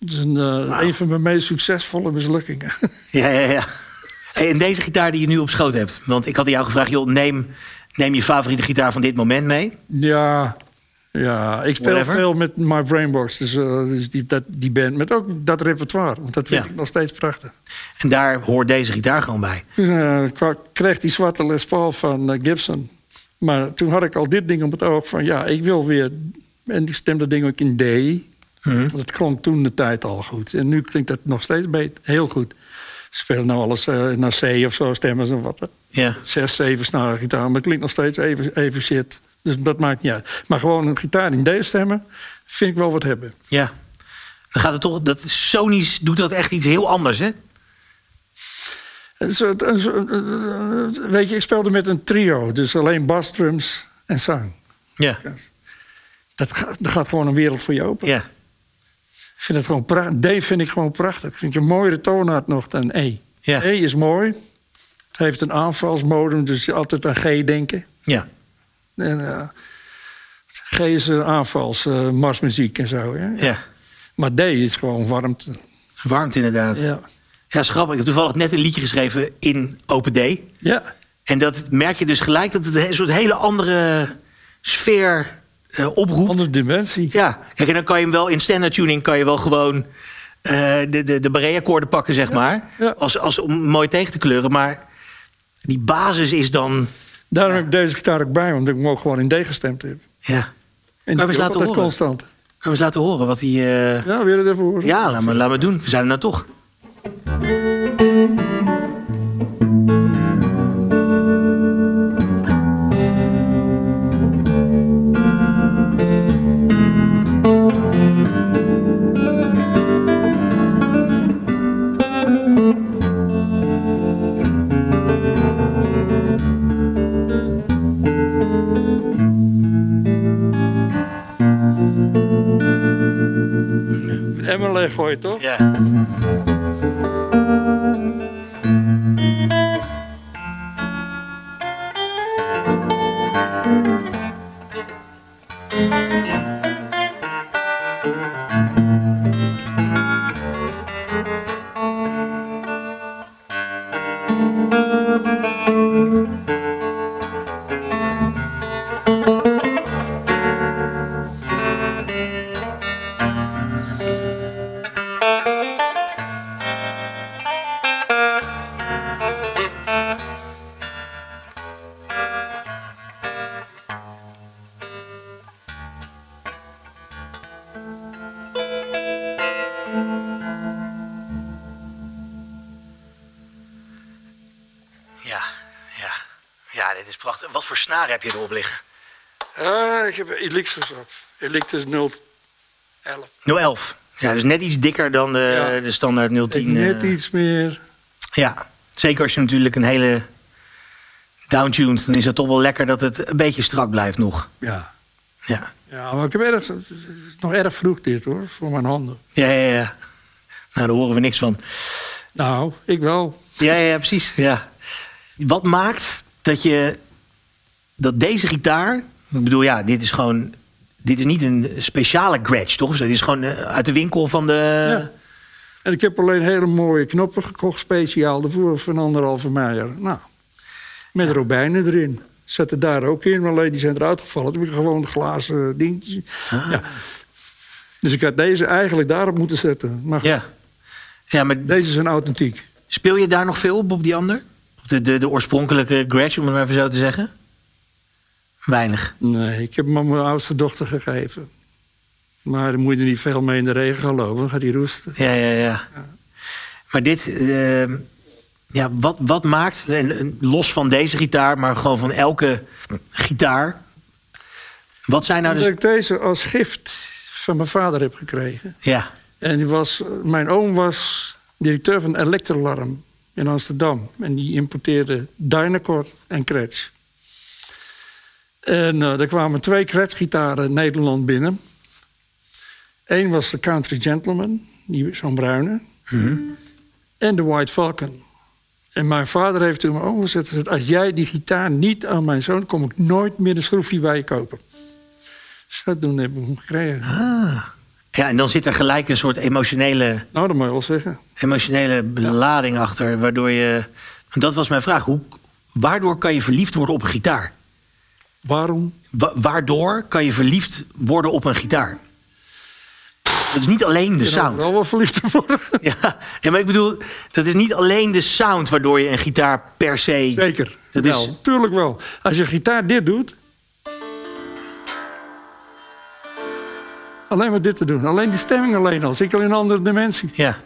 A: het is een, eh, een van mijn meest succesvolle mislukkingen.
B: Ja, ja, ja. Hey, en deze gitaar die je nu op schoot hebt. Want ik had aan jou gevraagd, joh, neem, neem je favoriete gitaar van dit moment mee.
A: ja, ja, ik speel
B: Whatever.
A: veel met My Brainbox, dus, eh, dus die, dat, die band. Met ook dat repertoire, want dat vind
B: Ja.
A: ik nog steeds prachtig.
B: En daar hoort deze gitaar gewoon bij.
A: Toen eh, kwa- kreeg die zwarte Les Paul van eh, Gibson. Maar toen had ik al dit ding op het oog van ja, ik wil weer. En ik stemde ding ook in D. Want het klonk toen de tijd al goed. En nu klinkt dat nog steeds beter. Heel goed. Ze spelen nou alles eh, naar C of zo, stemmen ze wat. hè.
B: Ja.
A: Zes, zeven snaren gitaar, maar het klinkt nog steeds even, even shit. Dus dat maakt niet uit. Maar gewoon een gitaar in D stemmen, vind ik wel wat hebben.
B: Ja. Dan gaat het toch... Dat, Sony's doet dat echt iets heel anders, hè?
A: Een soort- een soort- eh, Weet je, ik speelde met een trio. Dus alleen basdrums en zang.
B: Ja.
A: Dat gaat, dat gaat gewoon een wereld voor je open.
B: Ja.
A: vind het gewoon prachtig. D vind ik gewoon prachtig. Ik vind je een mooiere toonaard nog dan E.
B: Ja.
A: E is mooi. Het heeft een aanvalsmodem, dus je altijd aan G denken.
B: Ja.
A: En, eh, G is eh, een aanvalsmarsmuziek en zo. Ja?
B: ja.
A: Maar D is gewoon warmte.
B: Warmt inderdaad. Ja,
A: Ja.
B: dat is grappig. Ik heb toevallig net een liedje geschreven in Open D.
A: ja.
B: En dat merk je dus gelijk dat het een soort hele andere sfeer eh, oproept.
A: Andere dimensie.
B: Ja, kijk, en dan kan je hem wel in standard tuning kan je wel gewoon eh, de, de, de Brea-akkoorden pakken, zeg maar.
A: ja.
B: Als, als om mooi tegen te kleuren. Maar die basis is dan.
A: Daarom heb ik deze gitaar ook bij, omdat ik hem ook gewoon in D gestemd heb.
B: Ja.
A: En
B: Kunnen je
A: dat
B: hem eens
A: is
B: laten
A: altijd
B: horen?
A: constant.
B: we eens laten horen wat die. eh,
A: Ja, wil je het even horen?
B: Ja, laat maar, laat maar doen. We zijn er nou toch.
A: Emmer leeg gooien, toch?
B: Ja. Ja, ja. Ja, dit is prachtig. Wat voor snaren heb je erop liggen?
A: Ah, ik heb elixirs op. Elixir 011.
B: 011. Ja, dus net iets dikker dan de,
A: Ja.
B: de standaard 010.
A: Net
B: eh,
A: iets meer.
B: Ja, zeker als je natuurlijk een hele downtuned, dan is het toch wel lekker dat het een beetje strak blijft nog.
A: Ja.
B: Ja,
A: Ja, maar ik heb erg, het is nog erg vroeg dit hoor, voor mijn handen.
B: ja, ja. ja. Nou, daar horen we niks van.
A: Nou, ik wel.
B: Ja, ja, ja, precies. Ja. Wat maakt dat je dat deze gitaar, ik bedoel, ja, dit is gewoon, dit is niet een speciale Gretsch, toch? Of zo, Dit is gewoon eh, uit de winkel van de.
A: Ja. En ik heb alleen hele mooie knoppen gekocht, speciaal daarvoor, van anderhalve meijer. Nou, met robijnen erin. Zet er daar ook in, maar alleen die zijn eruit gevallen. Toen heb ik gewoon een glazen dingetje. Ja. Dus ik had deze eigenlijk daarop moeten zetten. Maar goed,
B: ja. Ja, maar
A: deze zijn authentiek.
B: speel je daar nog veel op, op die ander? Op de, de, de oorspronkelijke Gretsch, om het maar even zo te zeggen? Weinig.
A: Nee, ik heb hem aan mijn oudste dochter gegeven. Maar dan moet je er niet veel mee in de regen gaan lopen, dan gaat hij roesten.
B: Ja, ja, ja. Maar dit, eh, ja, wat, wat maakt, en- en los van deze gitaar, maar gewoon van elke gitaar. Wat zijn nou
A: Dat
B: de.
A: ik deze als gift van mijn vader heb gekregen.
B: Ja,
A: En die was, mijn oom was directeur van Electralarm in Amsterdam. En die importeerde Dynacord en Kretsch. En eh, er kwamen twee Kretsch-gitaren Nederland binnen. Eén was de Country Gentleman, die, zo'n bruine. En de White Falcon. En mijn vader heeft toen mijn oom gezet... gezegd, als jij die gitaar niet aan mijn zoon... kom ik nooit meer een schroefje bij je kopen. Dus Zodoende heb ik hem gekregen.
B: ja, en dan zit er gelijk een soort emotionele,
A: Nou, dat moet je wel zeggen.
B: emotionele belading achter, waardoor je. en Dat was mijn vraag. Hoe, waardoor kan je verliefd worden op een gitaar?
A: Waarom?
B: Wa- waardoor kan je verliefd worden op een gitaar? Dat is niet alleen de
A: Ik ben
B: sound.
A: overal wel verliefd te worden.
B: Ja, nee, maar ik bedoel, dat is niet alleen de sound waardoor je een gitaar per se.
A: Zeker.
B: Dat
A: wel.
B: is-
A: Tuurlijk wel. Als je gitaar dit doet... Alleen maar dit te doen. Alleen die stemming alleen al. Zit ik al in een andere dimensie.
B: Ja.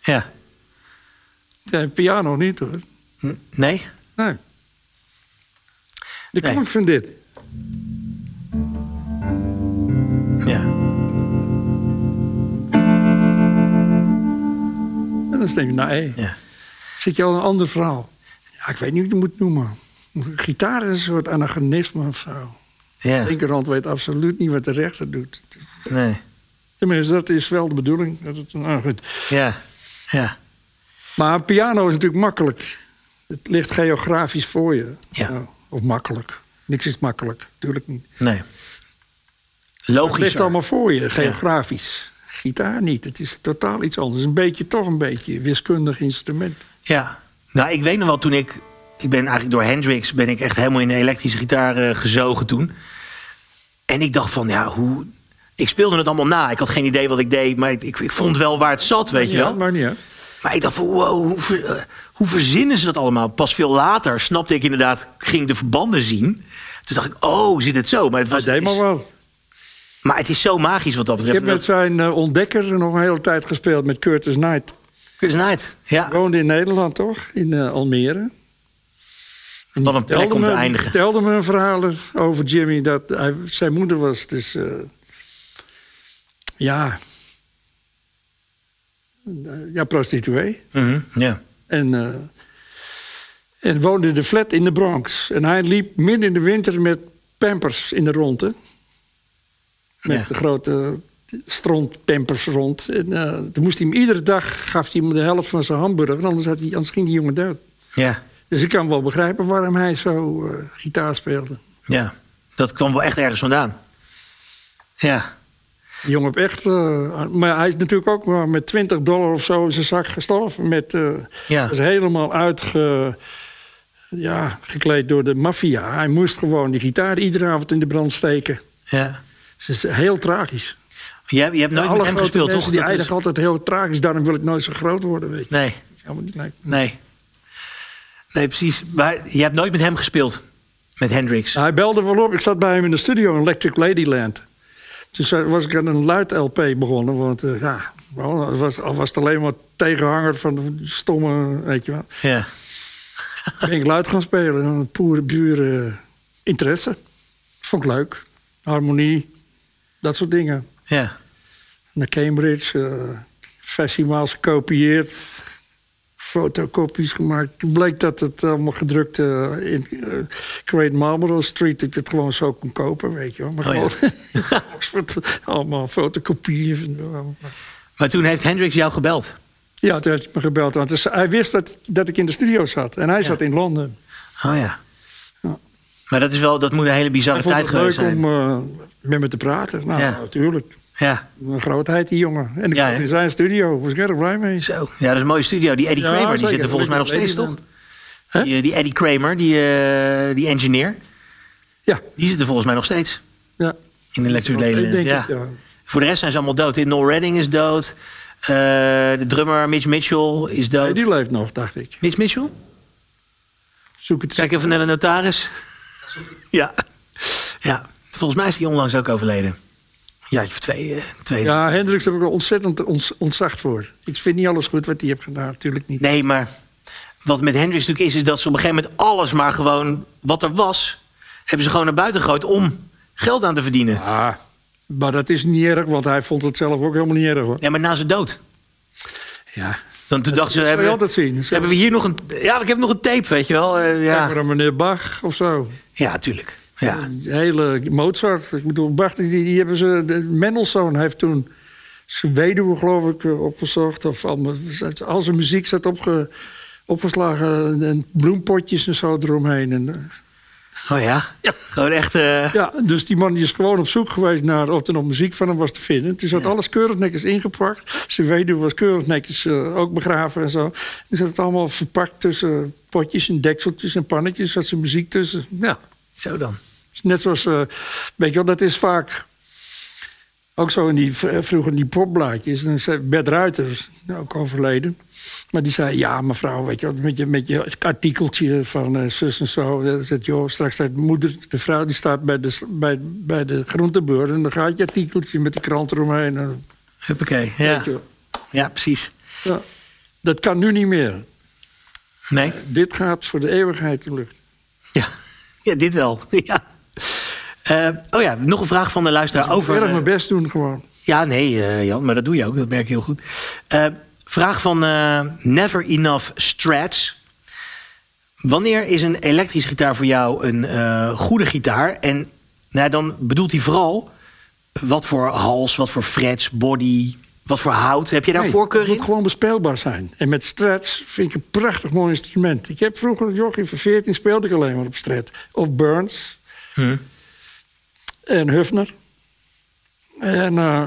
B: Ja.
A: Ja, piano niet hoor.
B: N- nee?
A: Nee. De
B: Nee.
A: klank van dit.
B: Ja.
A: En dan stem je naar E.
B: Ja.
A: Zit je al in een ander verhaal. Ja, ik weet niet hoe ik het moet noemen. Gitaar is een soort anachronisme of zo.
B: Ja.
A: De linkerhand weet absoluut niet wat de rechter doet.
B: Nee.
A: Tenminste, dat is wel de bedoeling. Dat het, nou goed.
B: Ja. Ja.
A: Maar piano is natuurlijk makkelijk. Het ligt geografisch voor je.
B: Ja.
A: Nou, of makkelijk. Niks is makkelijk, natuurlijk niet.
B: Nee.
A: Het ligt
B: Logisch.
A: allemaal voor je, geografisch. Gitaar niet, het is totaal iets anders. Een beetje, toch een beetje, wiskundig instrument.
B: Ja. Nou, ik weet nog wel toen ik... Ik ben eigenlijk door Hendrix ben ik echt helemaal in de elektrische gitaar eh, gezogen toen. En ik dacht van, ja, hoe... Ik speelde het allemaal na. Ik had geen idee wat ik deed, maar ik, ik, ik vond wel waar het zat, weet je
A: Ja,
B: wel.
A: Maar niet, hè?
B: Maar ik dacht van, wow, hoe, ver- eh, hoe verzinnen ze dat allemaal? Pas veel later snapte ik inderdaad, ging ik de verbanden zien. Toen dacht ik, oh, zit het zo? Maar het, was,
A: Deed maar wat.
B: maar het is zo magisch wat dat
A: Ik
B: betreft.
A: heb met zijn eh, ontdekker nog een hele tijd gespeeld met Curtis Knight.
B: Chris Knight, ja.
A: Woonde in Nederland, toch? In eh, Almere.
B: Wat een plek
A: Vertelde
B: om te
A: me-
B: eindigen.
A: vertelde me een verhaal over Jimmy. Dat hij, zijn moeder was dus... eh, ja... Ja, prostituee.
B: Mhm, ja.
A: En, eh, en woonde in de flat in de Bronx. En hij liep midden in de winter met pampers in de ronde. Met
B: Ja.
A: de grote strontpampers rond. En eh, toen moest hij hem iedere dag, gaf hij hem de helft van zijn hamburger. Anders, had hij, anders ging die jongen dood.
B: ja,
A: Dus ik kan wel begrijpen waarom hij zo eh, gitaar speelde.
B: ja. Dat kwam wel echt ergens vandaan. Ja,
A: Die jongen heeft echt... eh, maar hij is natuurlijk ook maar met 20 dollar of zo in zijn zak gestorven. Met, eh,
B: ja.
A: Dat is helemaal uitge, ja, gekleed door de maffia. Hij moest gewoon die gitaar iedere avond in de brand steken.
B: ja.
A: Dus het is heel tragisch.
B: Je, hebt- je hebt nooit
A: Alle
B: met hem
A: grote
B: gespeeld,
A: mensen Die
B: toch? Dat is-
A: eindigen altijd heel tragisch. Daarom wil ik nooit zo groot worden, weet je.
B: Nee,
A: Ja, maar niet leuk.
B: nee. Nee, precies. Maar je hebt nooit met hem gespeeld. Met Hendrix.
A: Hij belde wel op. Ik zat bij hem in de studio in Electric Ladyland. Toen zei- was ik aan een luid LP begonnen. Want eh, ja, wel, het was, al was het alleen maar tegenhanger van de stomme, weet je wel.
B: Ja.
A: ben ik luid gaan spelen. En Poere buren interesse. Vond ik leuk. Harmonie, dat soort dingen.
B: Ja.
A: Naar Cambridge, eh festivals gekopieerd, fotocopies gemaakt. Toen bleek dat het allemaal gedrukt eh, in eh, Great Marlborough Street, dat je het gewoon zo kon kopen, weet je wel. Maar
B: Oh ja.
A: gewoon Oxford, allemaal fotocopieën. van- eh,
B: Maar toen heeft Hendrix jou gebeld.
A: Ja, toen heeft hij me gebeld, want dus hij wist dat, dat ik in de studio zat. En hij zat in Londen.
B: Oh ja.
A: Ja.
B: Maar dat, is wel, dat moet een hele bizarre
A: Hij vond
B: tijd
A: het
B: geweest
A: leuk
B: zijn.
A: om eh, met me te praten. Nou,
B: Ja.
A: natuurlijk.
B: Ja,
A: Een grootheid, die jongen. En ik
B: Ja,
A: zat
B: hè?
A: in zijn studio. Was ik erg blij mee.
B: zo. Ja, dat is een mooie studio. Die Eddie
A: Ja,
B: Kramer, die
A: zeker.
B: zit er volgens mij nog steeds, toch?
A: Hè?
B: Die, eh, die Eddie Kramer, die, eh, die engineer,
A: Ja,
B: die zit er volgens mij nog steeds.
A: ja.
B: In Electric Ladyland,
A: Denk
B: ja.
A: ik, ja.
B: Voor de rest zijn ze allemaal dood. hè? Noel Redding is dood. Eh, de drummer Mitch Mitchell
A: Nee,
B: is dood.
A: die leeft nog, dacht ik.
B: Mitch Mitchell?
A: Zoek het
B: Kijk even naar de notaris. ja. ja. Volgens mij is die onlangs ook overleden. Ja, of twee. eh, twee.
A: Ja, Hendricks heb ik wel ontzettend ons- ontzag voor. Ik vind niet alles goed wat hij heeft gedaan, natuurlijk niet.
B: Nee, maar wat met Hendrix natuurlijk is, is dat ze op een gegeven moment alles maar gewoon wat er was, hebben ze gewoon naar buiten gegooid om geld aan te verdienen.
A: Ah, maar dat is niet erg, want hij vond het zelf ook helemaal niet erg, hoor.
B: Ja, maar na zijn dood.
A: Ja.
B: Dan toen dachten ze,
A: dat zal je
B: hebben,
A: altijd zien. Dat zal-
B: hebben we hier nog een... Ja, ik heb nog een tape, weet je wel. eh,
A: Kijk maar
B: ja.
A: naar meneer Bach of zo.
B: ja, tuurlijk. Ja.
A: De hele Mozart. Ik bedoel, Bach, die, die hebben ze. de- Mendelssohn heeft toen zijn weduwe, geloof ik, eh, opgezocht. Of allemaal, al zijn muziek zat opge, opgeslagen. En bloempotjes en zo eromheen. En, eh,
B: Oh ja?
A: Ja.
B: Gewoon echt... eh,
A: ja, dus die man die is gewoon op zoek geweest naar of er nog muziek van hem was te vinden. Toen zat alles keurig netjes ingepakt. Zijn weduwe was keurig netjes eh, ook begraven en zo. En zat het allemaal verpakt tussen potjes en dekseltjes en pannetjes. Zat zijn muziek tussen. Ja.
B: Zo dan.
A: Net zoals, eh, weet je wel, dat is vaak ook zo in die, v- eh, vroeger in die popblaadjes. Dan zei Bert Ruiter, ook overleden. Maar die zei, ja mevrouw, weet je wel, met je, met je artikeltje van eh, zus en zo. Dat zegt, joh, straks staat moeder, de vrouw die staat bij de, s- bij, bij de groenteboer. En dan gaat je artikeltje met de krant eromheen. en-
B: Huppakee. Ja.
A: weet je wel.
B: ja, precies.
A: Ja. Dat kan nu niet meer.
B: Nee?
A: Dit gaat voor de eeuwigheid de lucht.
B: Ja. Ja, dit wel. Ja. Eh, oh ja, nog een vraag van de luisteraar over...
A: Verder
B: eh,
A: mijn best doen gewoon.
B: Ja, nee, eh, Jan, maar dat doe je ook. Dat merk ik heel goed. Eh, vraag van eh, Never Enough Strats. Wanneer is een elektrische gitaar voor jou een eh, goede gitaar? En nou, ja, dan bedoelt hij vooral Wat voor hals, wat voor frets, body, wat voor hout? Heb je daar
A: Nee,
B: voorkeur
A: Het
B: in?
A: moet gewoon bespeelbaar zijn. En met strats vind ik een prachtig mooi instrument. Ik heb vroeger, een jochie van 14, speelde ik alleen maar op strat. Of Burns. En Hufner. En eh,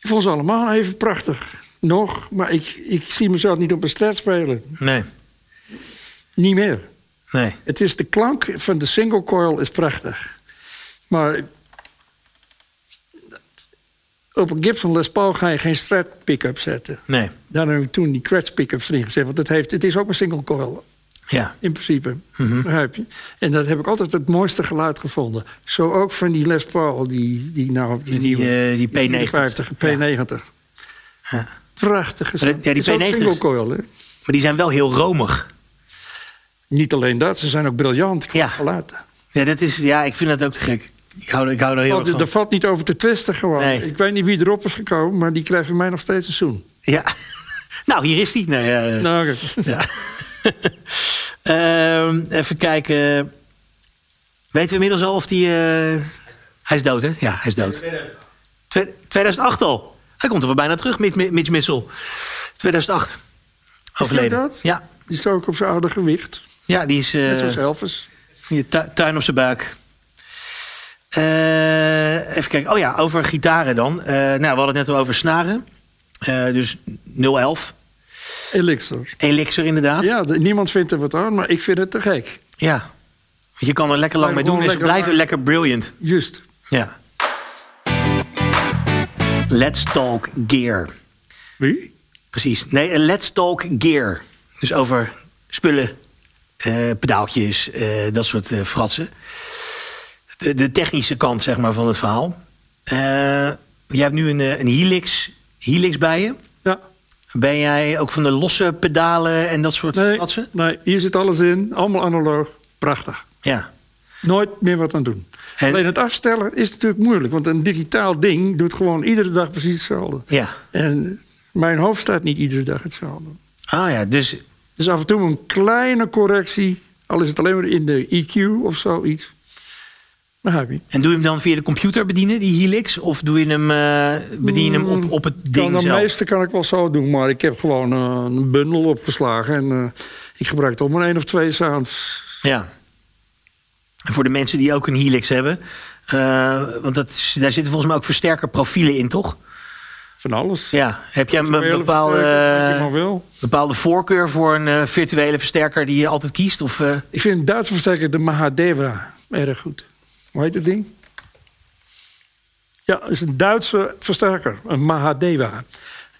A: ik vond ze allemaal even prachtig. Nog, maar ik, ik zie mezelf niet op een strat spelen.
B: Nee,
A: Niet meer.
B: nee.
A: Het is de klank van de single coil is prachtig. Maar op een Gibson Les Paul ga je geen strat pick-up zetten.
B: Nee,
A: Daar heb ik toen die crash pickups erin gezet. Want het, heeft, het is ook een single coil,
B: ja.
A: in principe.
B: Mhm.
A: Begrijp je? En dat heb ik altijd het mooiste geluid gevonden. Zo ook van die Les Paul, die, die nou...
B: Die, eh, die P90.
A: 54, P90.
B: Ja.
A: Prachtig
B: Maar dat-
A: gezet.
B: ja, die
A: Is ook
B: P90's.
A: single coil, hè?
B: Maar die zijn wel heel romig.
A: Niet alleen dat, ze zijn ook briljant qua
B: Ja.
A: geluid.
B: Ja, dat is, ja ik vind dat ook te gek. Ik hou, ik hou er heel
A: Oh,
B: erg
A: d-
B: van.
A: daar valt niet over te twisten gewoon.
B: Nee.
A: Ik weet niet wie erop is gekomen, maar die krijgt van mij nog steeds een zoen.
B: Ja. nou, hier is die. Nee, eh,
A: Nou, oké.
B: ja. Ehm, even kijken. Weten we inmiddels al of die... eh, Hij is dood, hè? Ja, hij is dood. Twe- 2008 al. Hij komt er wel bijna terug, Mitch, Mitch Missel. 2008. Overleden.
A: dat?
B: Ja.
A: die is ook op zijn oude gewicht.
B: ja, die is eh,
A: Net zoals Elvis.
B: die tu- tuin op zijn buik. Eh, even kijken. Oh ja, over gitaren dan. Eh, nou, we hadden het net al over snaren. Eh, dus 011.
A: Elixir.
B: Elixir inderdaad.
A: Ja, de- niemand vindt er wat aan, maar ik vind het te gek.
B: Ja. Want Je kan er lekker lang mee
A: Blijven
B: doen en ze
A: gewoon lekker
B: blijven lekker brilliant.
A: Juist.
B: Ja. Let's talk gear.
A: Wie?
B: Precies. Nee, eh, let's talk gear. Dus over spullen, eh, pedaaltjes, eh, dat soort eh, fratsen. De, de technische kant, zeg maar, van het verhaal. Eh, je hebt nu een, eh, een Helix, Helix bij je.
A: Ja.
B: Ben jij ook van de losse pedalen en dat soort
A: Nee,
B: fratsen?
A: nee, hier zit alles in. Allemaal analoog. Prachtig.
B: Ja.
A: Nooit meer wat aan doen.
B: En-
A: Alleen het afstellen is natuurlijk moeilijk. Want een digitaal ding doet gewoon iedere dag precies hetzelfde.
B: Ja.
A: En mijn hoofd staat niet iedere dag hetzelfde.
B: Ah ja, dus
A: Dus af en toe een kleine correctie. Al is het alleen maar in de EQ of zoiets. Dan heb je.
B: En doe je hem dan via de computer bedienen, die Helix? Of doe je hem, eh, bedien je hem op, op het
A: Mm, Kan
B: ding
A: de
B: zelf?
A: meeste kan ik wel zo doen, maar ik heb gewoon eh, een bundel opgeslagen. En eh, ik gebruik toch maar één of twee sounds.
B: Ja. En voor de mensen die ook een Helix hebben. eh, want dat, is- daar zitten volgens mij ook versterkerprofielen in, toch?
A: Van alles.
B: Ja. Heb jij een
A: Virtuele
B: bepaalde,
A: versterker, wat je
B: eh,
A: maar wil.
B: bepaalde voorkeur voor een eh, virtuele versterker die je altijd kiest? Of, eh,
A: Ik vind een Duitse versterker de Mahadeva erg goed. Hoe heet dat ding? Ja, het is een Duitse versterker, een Mahadeva.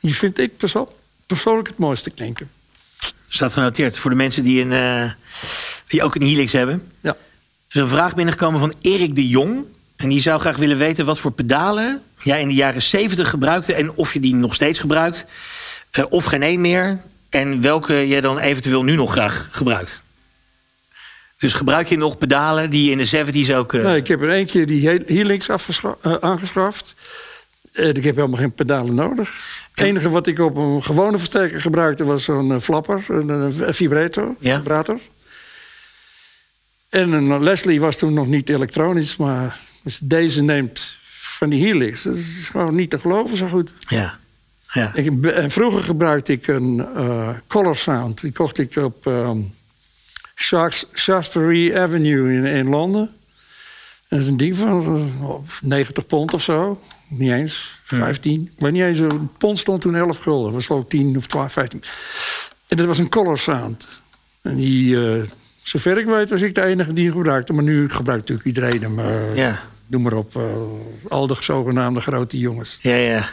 A: Die vind ik perso- persoonlijk het mooiste klinken.
B: staat genoteerd. Voor de mensen die, een, eh, die ook een Helix hebben.
A: Ja.
B: Er is een vraag binnengekomen van Erik de Jong. En die zou graag willen weten wat voor pedalen jij in de jaren 70 gebruikte. En of je die nog steeds gebruikt. eh, of geen één meer. En welke jij dan eventueel nu nog graag gebruikt. Dus gebruik je nog pedalen die je in de 70s ook. eh,
A: Nee, ik heb er één keer die heel- Helix afgescha- eh, aangeschaft. En ik heb helemaal geen pedalen nodig. Het enige wat ik op een gewone versterker gebruikte was zo'n eh, flapper, een, een vibrator.
B: Ja.
A: vibrator. En een Leslie was toen nog niet elektronisch, maar dus deze neemt van die Helix. Dat is gewoon niet te geloven zo goed.
B: Ja. ja.
A: Ik, heb- en vroeger gebruikte ik een eh, Color Sound. Die kocht ik op ehm, Shafts- Shaftesbury Avenue in, in Londen. Dat is een ding van eh, op 90 pond of zo. Niet eens, 15. Ik weet niet eens, een pond stond toen 11 gulden. Dat was geloof ik 10 of 12, 15. En dat was een Color Sound. En die, eh, zover ik weet, was ik de enige die hem gebruikte. Maar nu gebruikt natuurlijk iedereen hem. eh,
B: Ja.
A: Noem maar op, eh, al de zogenaamde grote jongens.
B: Ja, ja.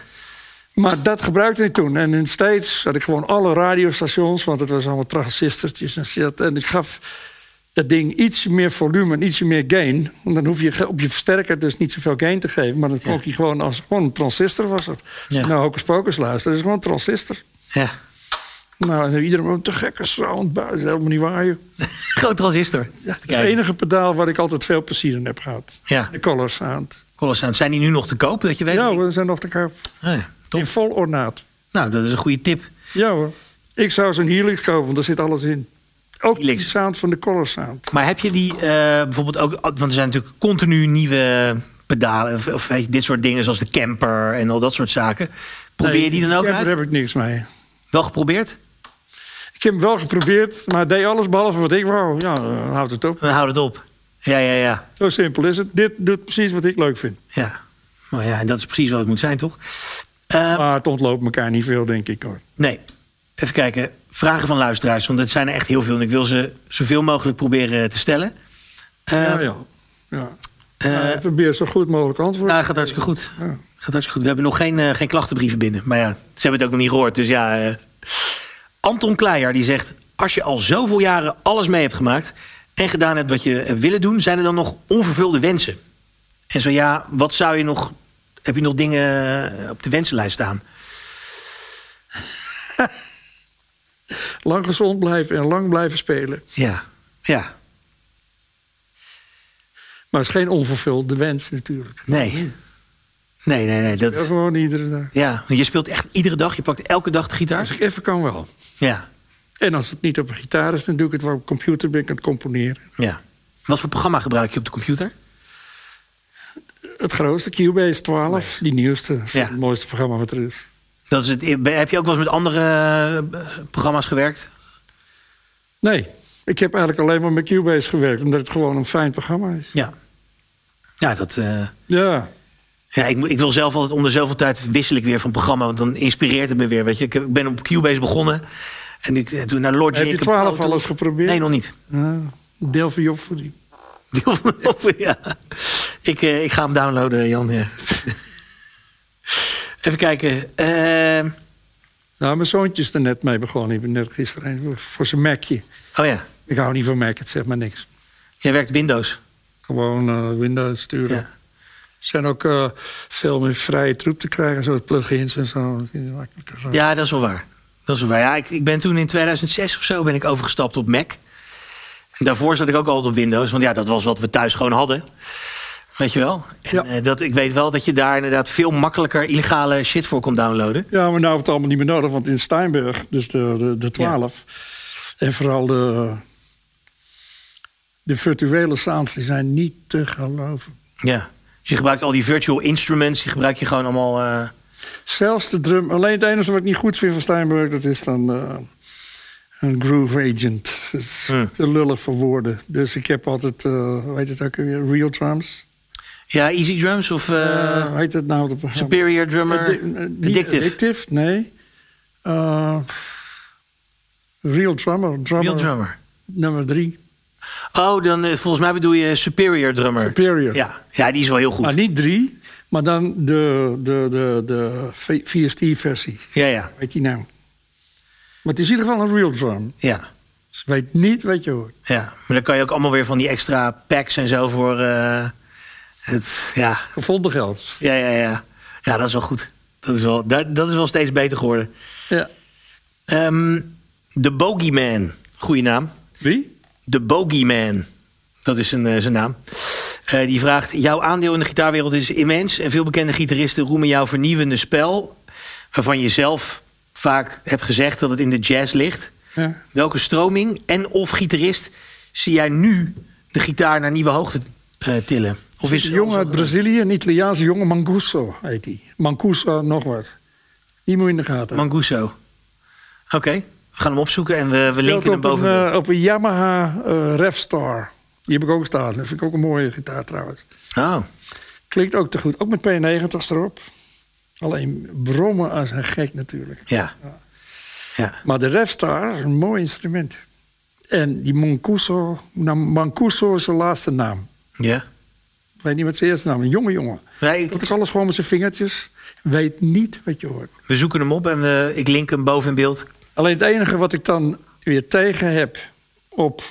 A: Maar dat gebruikte ik toen. En in steeds had ik gewoon alle radiostations, want het was allemaal transistortjes en shit. En ik gaf dat ding iets meer volume en ietsje meer gain. Want dan hoef je ge- op je versterker dus niet zoveel gain te geven. Maar dan klonk je gewoon als gewoon een transistor was het. Als je
B: Ja.
A: Nou, Hocus Pocus luisteren, dat is gewoon een transistor.
B: ja.
A: Nou, en iedereen wat te gekke sound buiten. Dat is helemaal niet waar, joh.
B: Groot transistor.
A: Dat is het enige pedaal waar ik altijd veel plezier in heb gehad.
B: Ja.
A: De color sound.
B: Colossaal. Zijn die nu nog te koop? Dat je weet.
A: Ja, we zijn nog te koop.
B: Ah, ja.
A: In
B: Tof.
A: vol ornaat.
B: Nou, dat is een goede tip.
A: Ja hoor. Ik zou zo'n Helix kopen, want daar zit alles in. Ook de
B: Helix.
A: sound van de Color Sound.
B: Maar heb je die eh, bijvoorbeeld ook, want er zijn natuurlijk continu nieuwe pedalen of, of weet je, dit soort dingen zoals de camper en al dat soort zaken. Probeer je die dan ook
A: Ja,
B: uit?
A: Daar heb ik niks mee.
B: Wel geprobeerd?
A: Ik heb hem wel geprobeerd, maar hij deed alles behalve wat ik wou. Ja, eh, houdt het op.
B: Dan houd het op. Ja, ja, ja.
A: Zo simpel is het. Dit doet precies wat ik leuk vind.
B: ja. Maar ja, en dat is precies wat het moet zijn, toch? Eh,
A: Maar het ontloopt elkaar niet veel, denk ik hoor.
B: Nee. Even kijken. Vragen van luisteraars, want het zijn er echt heel veel. En ik wil ze zoveel mogelijk proberen te stellen. Eh,
A: ja, Nou, ja. ja.
B: eh,
A: Maar ik probeer zo goed mogelijk antwoord.
B: nou, gaat hartstikke goed. Gaat hartstikke goed. We hebben nog geen, eh, geen klachtenbrieven binnen. Maar ja, ze hebben het ook nog niet gehoord. Dus ja. eh. Anton Kleijer die zegt: Als je al zoveel jaren alles mee hebt gemaakt. en gedaan hebt wat je hebt willen doen. zijn er dan nog onvervulde wensen? En zo ja, wat zou je nog. Heb je nog dingen eh, op de wensenlijst staan?
A: Lang gezond blijven en lang blijven spelen.
B: Ja. Ja.
A: Maar het is geen onvervulde wens natuurlijk.
B: Nee. Nee, nee, nee. Dat
A: Ja, gewoon iedere dag.
B: Ja, want je speelt echt iedere dag. Je pakt elke dag de
A: Als
B: gitaar.
A: ik even kan wel.
B: Ja,
A: En als het niet op een gitaar is, dan doe ik het wel op een computer. Ben ik aan het componeren.
B: ja. Wat voor programma gebruik je op de computer?
A: Het grootste, Cubase 12. Die nieuwste. Dat is
B: Ja.
A: Het mooiste programma wat er is.
B: Dat is het, eh, heb je ook wel eens met andere eh, programma's gewerkt?
A: Nee, ik heb eigenlijk alleen maar met Cubase gewerkt. Omdat het gewoon een fijn programma is.
B: Ja. Ja, dat, eh,
A: Ja,
B: ja ik, moet- ik wil zelf altijd om de zoveel tijd wissel ik weer van programma. Want dan inspireert het me weer. Weet je. Ik, heb- ik ben op Cubase begonnen. En ik, eh, toen naar Logic.
A: Heb je
B: en
A: 12
B: Pro Tools.
A: al eens geprobeerd?
B: Nee, nog niet.
A: ja. deel van je opvoeding.
B: Deel van de hoofd, ja. Ik, eh, ik ga hem downloaden, Jan. ja. Even kijken. Eh,
A: Nou, mijn zoontje is er net mee begonnen. Ik ben net gisteren heen voor- voor zijn Macje.
B: oh ja,
A: Ik hou niet van Mac, het zegt maar niks.
B: jij werkt Windows.
A: Gewoon eh, Windows sturen.
B: Ja.
A: Er zijn ook eh, veel meer vrije troep te krijgen, zoals plugins en zo. Dat is makkelijker zo.
B: Ja, dat is wel waar. Dat is wel waar. Ja, ik, ik ben toen in 2006 of zo ben ik overgestapt op Mac. En daarvoor zat ik ook altijd op Windows, want ja, dat was wat we thuis gewoon hadden. Weet je wel? En,
A: Ja.
B: eh, dat, ik weet wel dat je daar inderdaad veel makkelijker illegale shit voor kon downloaden.
A: Ja, maar nou heb het allemaal niet meer nodig, want in Steinberg, dus de, de, de 12, en vooral de, de virtuele sounds, die zijn niet te geloven.
B: Ja. Dus je gebruikt al die virtual instruments, die gebruik je gewoon allemaal. eh,
A: Zelfs de drum, alleen het enige wat ik niet goed vind van Steinberg, dat is dan eh, een groove agent. Dat is
B: Hm.
A: te lullig voor woorden. Dus ik heb altijd, eh, hoe heet het ook weer, real drums.
B: ja, Easy Drums of eh,
A: Eh, hoe heet het nou? Dat programma?
B: Superior Drummer.
A: Addi- eh, niet
B: Addictive.
A: addictive, nee. Eh, real Drummer, drummer
B: Real Drummer.
A: nummer drie.
B: Oh, dan eh, volgens mij bedoel je Superior Drummer.
A: Superior. Ah,
B: Ja, ja die is wel heel goed.
A: Maar niet drie, maar dan de, de, de, de V- VST-versie.
B: Ja, ja,
A: Weet die nou? Maar het is in ieder geval een real drum.
B: ja.
A: Dus je weet niet wat je hoort.
B: Ja, maar dan kan je ook allemaal weer van die extra packs en zo voor. eh, het, ja,
A: Gevonden geld.
B: ja, ja, ja. Ja, dat is wel goed. Dat is wel, dat, dat is wel steeds beter geworden.
A: Ja.
B: Ehm de Bogeyman. Goeie naam.
A: Wie?
B: De Bogeyman. Dat is zijn, eh, zijn naam. Eh, die vraagt: Jouw aandeel in de gitaarwereld is immens. En veel bekende gitaristen roemen jouw vernieuwende spel. Waarvan je zelf vaak hebt gezegd dat het in de jazz ligt.
A: Ja.
B: Welke stroming en of gitarist zie jij nu de gitaar naar nieuwe hoogte eh, tillen? Of
A: Of is
B: is
A: een jongen uit Brazilië, een Italiaanse jongen, Mancuso heet die. Mancuso, nog wat. Die moet je in de gaten. houden.
B: Manguso. Oké, we gaan hem opzoeken en we, we
A: Speelt
B: linken hem
A: op een,
B: boven. beeld.
A: eh, op een Yamaha eh Revstar. Die heb ik ook staan. Dat vind ik ook een mooie gitaar trouwens.
B: Oh,
A: Klinkt ook te goed. Ook met P90's erop. Alleen brommen als een gek natuurlijk.
B: ja. Ja,
A: Maar de Revstar is een mooi instrument. En die Mancuso, nou, Mancuso is zijn laatste naam.
B: ja.
A: Ik weet niet wat zijn eerste naam is. Een jonge jongen.
B: Nee,
A: Dat
B: ik-
A: is alles gewoon met zijn vingertjes. Weet niet wat je hoort.
B: we zoeken hem op en we, ik link hem boven in beeld.
A: Alleen het enige wat ik dan weer tegen heb op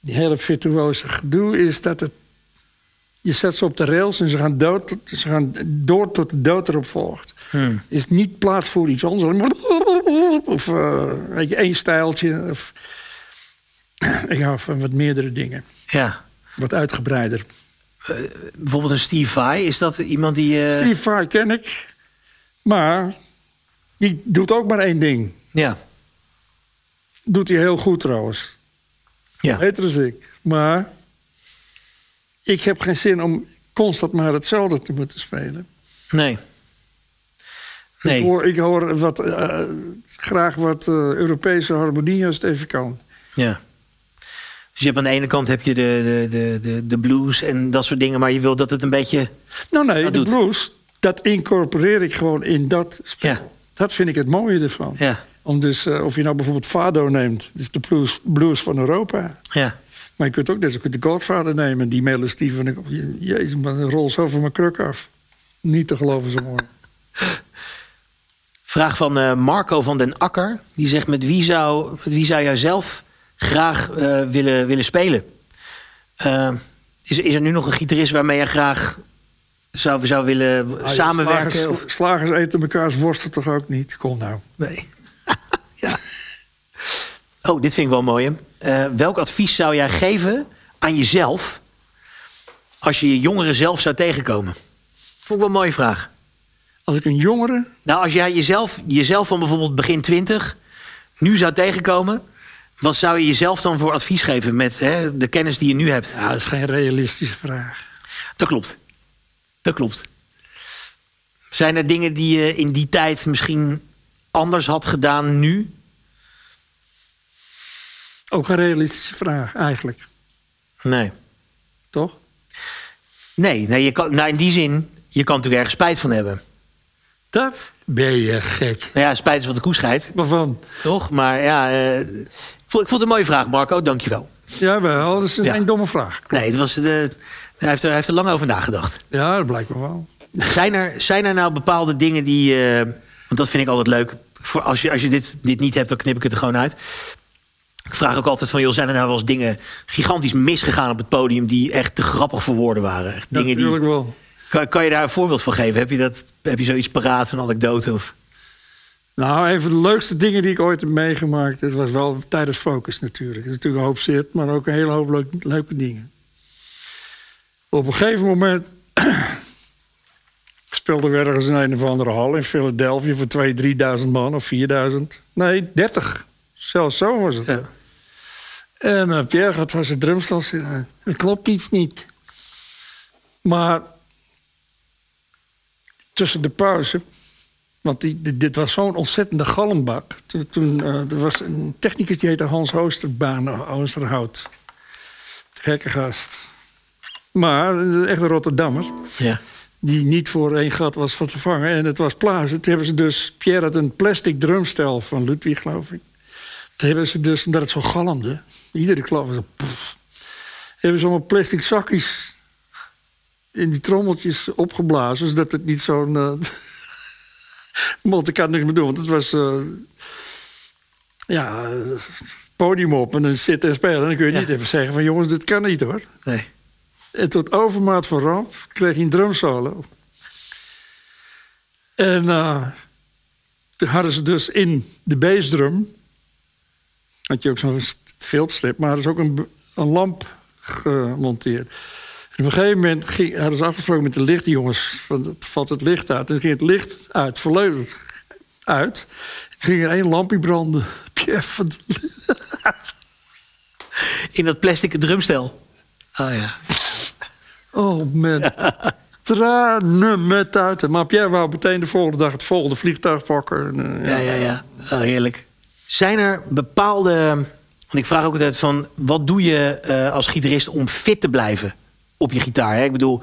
A: die hele virtuoze gedoe is dat het. Je zet ze op de rails en ze gaan, dood, tot- ze gaan door tot de dood erop volgt.
B: Hmm.
A: Is niet plaats voor iets anders. Of eh, weet je, één stijltje. Of, ik hou van wat meerdere dingen.
B: Ja,
A: Wat uitgebreider.
B: bijvoorbeeld een Steve Vai. Is dat iemand die... eh,
A: Steve Vai ken ik. Maar die doet ook maar één ding.
B: Ja,
A: Doet hij heel goed trouwens.
B: ja.
A: Beter dan ik. Maar ik heb geen zin om constant maar hetzelfde te moeten spelen.
B: Nee.
A: Ik,
B: Nee,
A: hoor, ik hoor wat, eh, graag wat eh, Europese harmonie als het even kan.
B: ja. Dus je hebt aan de ene kant heb je de, de, de, de, de blues en dat soort dingen, maar je wil dat het een beetje.
A: Nou nee,
B: Dat
A: de
B: doet.
A: blues, dat incorporeer ik gewoon in dat spel.
B: Ja.
A: Dat vind ik het mooie ervan.
B: Ja,
A: Om dus, eh, of je nou bijvoorbeeld Fado neemt, dus de blues, blues van Europa.
B: ja.
A: Maar je kunt ook dus ook de Godfather nemen, die melodie van de. je- Jezus, maar een rol zo van mijn kruk af. Niet te geloven zo mooi.
B: Vraag van eh, Marco van den Akker. Die zegt: met wie zou, met wie zou jij zelf graag eh, willen, willen spelen? Eh, is, is er nu nog een gitarist waarmee je graag zou, zou willen samenwerken?
A: Slagers,
B: of,
A: slagers eten mekaars worsten toch ook niet? Kom nou.
B: nee. ja. Oh, dit vind ik wel mooi. hè. Eh, welk advies zou jij geven aan jezelf als je je jongeren zelf zou tegenkomen? Vond ik wel een mooie vraag.
A: Als ik een jongere.
B: Nou, als jij jezelf, jezelf van bijvoorbeeld begin 20 nu zou tegenkomen, wat zou je jezelf dan voor advies geven met hè, de kennis die je nu hebt?
A: Ja, dat is geen realistische vraag.
B: Dat klopt. Dat klopt. Zijn er dingen die je in die tijd misschien anders had gedaan nu?
A: Ook geen realistische vraag, eigenlijk.
B: Nee.
A: Toch?
B: Nee, nee je kan, nou in die zin, je kan natuurlijk ergens spijt van hebben.
A: Dat ben je gek.
B: Nou ja, spijt is wat de koe scheidt,
A: Waarvan?
B: toch? Maar ja, eh, ik vond ik vond het een mooie vraag, Marco. Dankjewel.
A: Jawel, dat is een
B: Ja.
A: een domme vraag.
B: Nee, het was, eh, hij, heeft er, hij heeft er lang over nagedacht.
A: Ja, dat blijkt me wel.
B: Zijn er, zijn er nou bepaalde dingen die. eh, want dat vind ik altijd leuk. Voor als je, als je dit, dit niet hebt, dan knip ik het er gewoon uit. Ik vraag ook altijd van, joh, zijn er nou wel eens dingen gigantisch misgegaan op het podium die echt te grappig voor woorden waren? Echt dingen die,
A: Natuurlijk wel.
B: kan, kan je daar een voorbeeld van geven? Heb je, dat, heb je zoiets paraat, een anekdote? Of,
A: Nou, een van de leukste dingen die ik ooit heb meegemaakt... dat was wel tijdens Focus natuurlijk. Er is natuurlijk een hoop shit, maar ook een hele hoop leuk- leuke dingen. Op een gegeven moment... speelde we ergens in een of andere hal in Philadelphia... voor 2.000, 3.000 man of 4.000. Nee, 30. Zelfs zo was het.
B: Ja.
A: En eh, Pierre gaat van zijn drumstel zitten. Er klopt iets niet. Maar tussen de pauze... Want die, dit, dit was zo'n ontzettende galmbak. Toen, toen, eh, er was een technicus die heette Hans Oosterbaan, Oosterhout. Gekke gast. Maar eh, echt een Rotterdammer.
B: ja.
A: Die niet voor één gat was van te vangen. En het was plaatsen. Toen hebben ze dus... Pierre had een plastic drumstel van Ludwig, geloof ik. Toen hebben ze dus, omdat het zo galmde... Iedere klap was een poef. Hebben ze allemaal plastic zakjes... in die trommeltjes opgeblazen. Zodat het niet zo'n... eh, Want ik had niks meer doen, want het was... eh, ja, eh, podium op en dan zitten en spelen. En dan kun je
B: Ja.
A: niet even zeggen van... jongens, dit kan niet hoor.
B: Nee.
A: En tot overmaat van ramp kreeg hij een drumsolo. En eh, toen hadden ze dus in de bassdrum... had je ook zo'n st- veldslip, maar hadden ze ook een, b- een lamp gemonteerd. En op een gegeven moment ging, hadden ze afgesproken met de lichtjongens... van het valt het licht uit. En ging het licht uit, volledig uit. Toen ging er één lampje branden. Pierre van de-
B: In dat plastic drumstel. Ah ja.
A: Oh man. Tranen met uit. Maar Pierre wou meteen de volgende dag het volgende vliegtuig pakken. En, eh,
B: Ja, ja, ja. Oh, heerlijk. Zijn er bepaalde. Want ik vraag ook altijd van. Wat doe je eh, als gitarist om fit te blijven op je gitaar? Hè? Ik bedoel.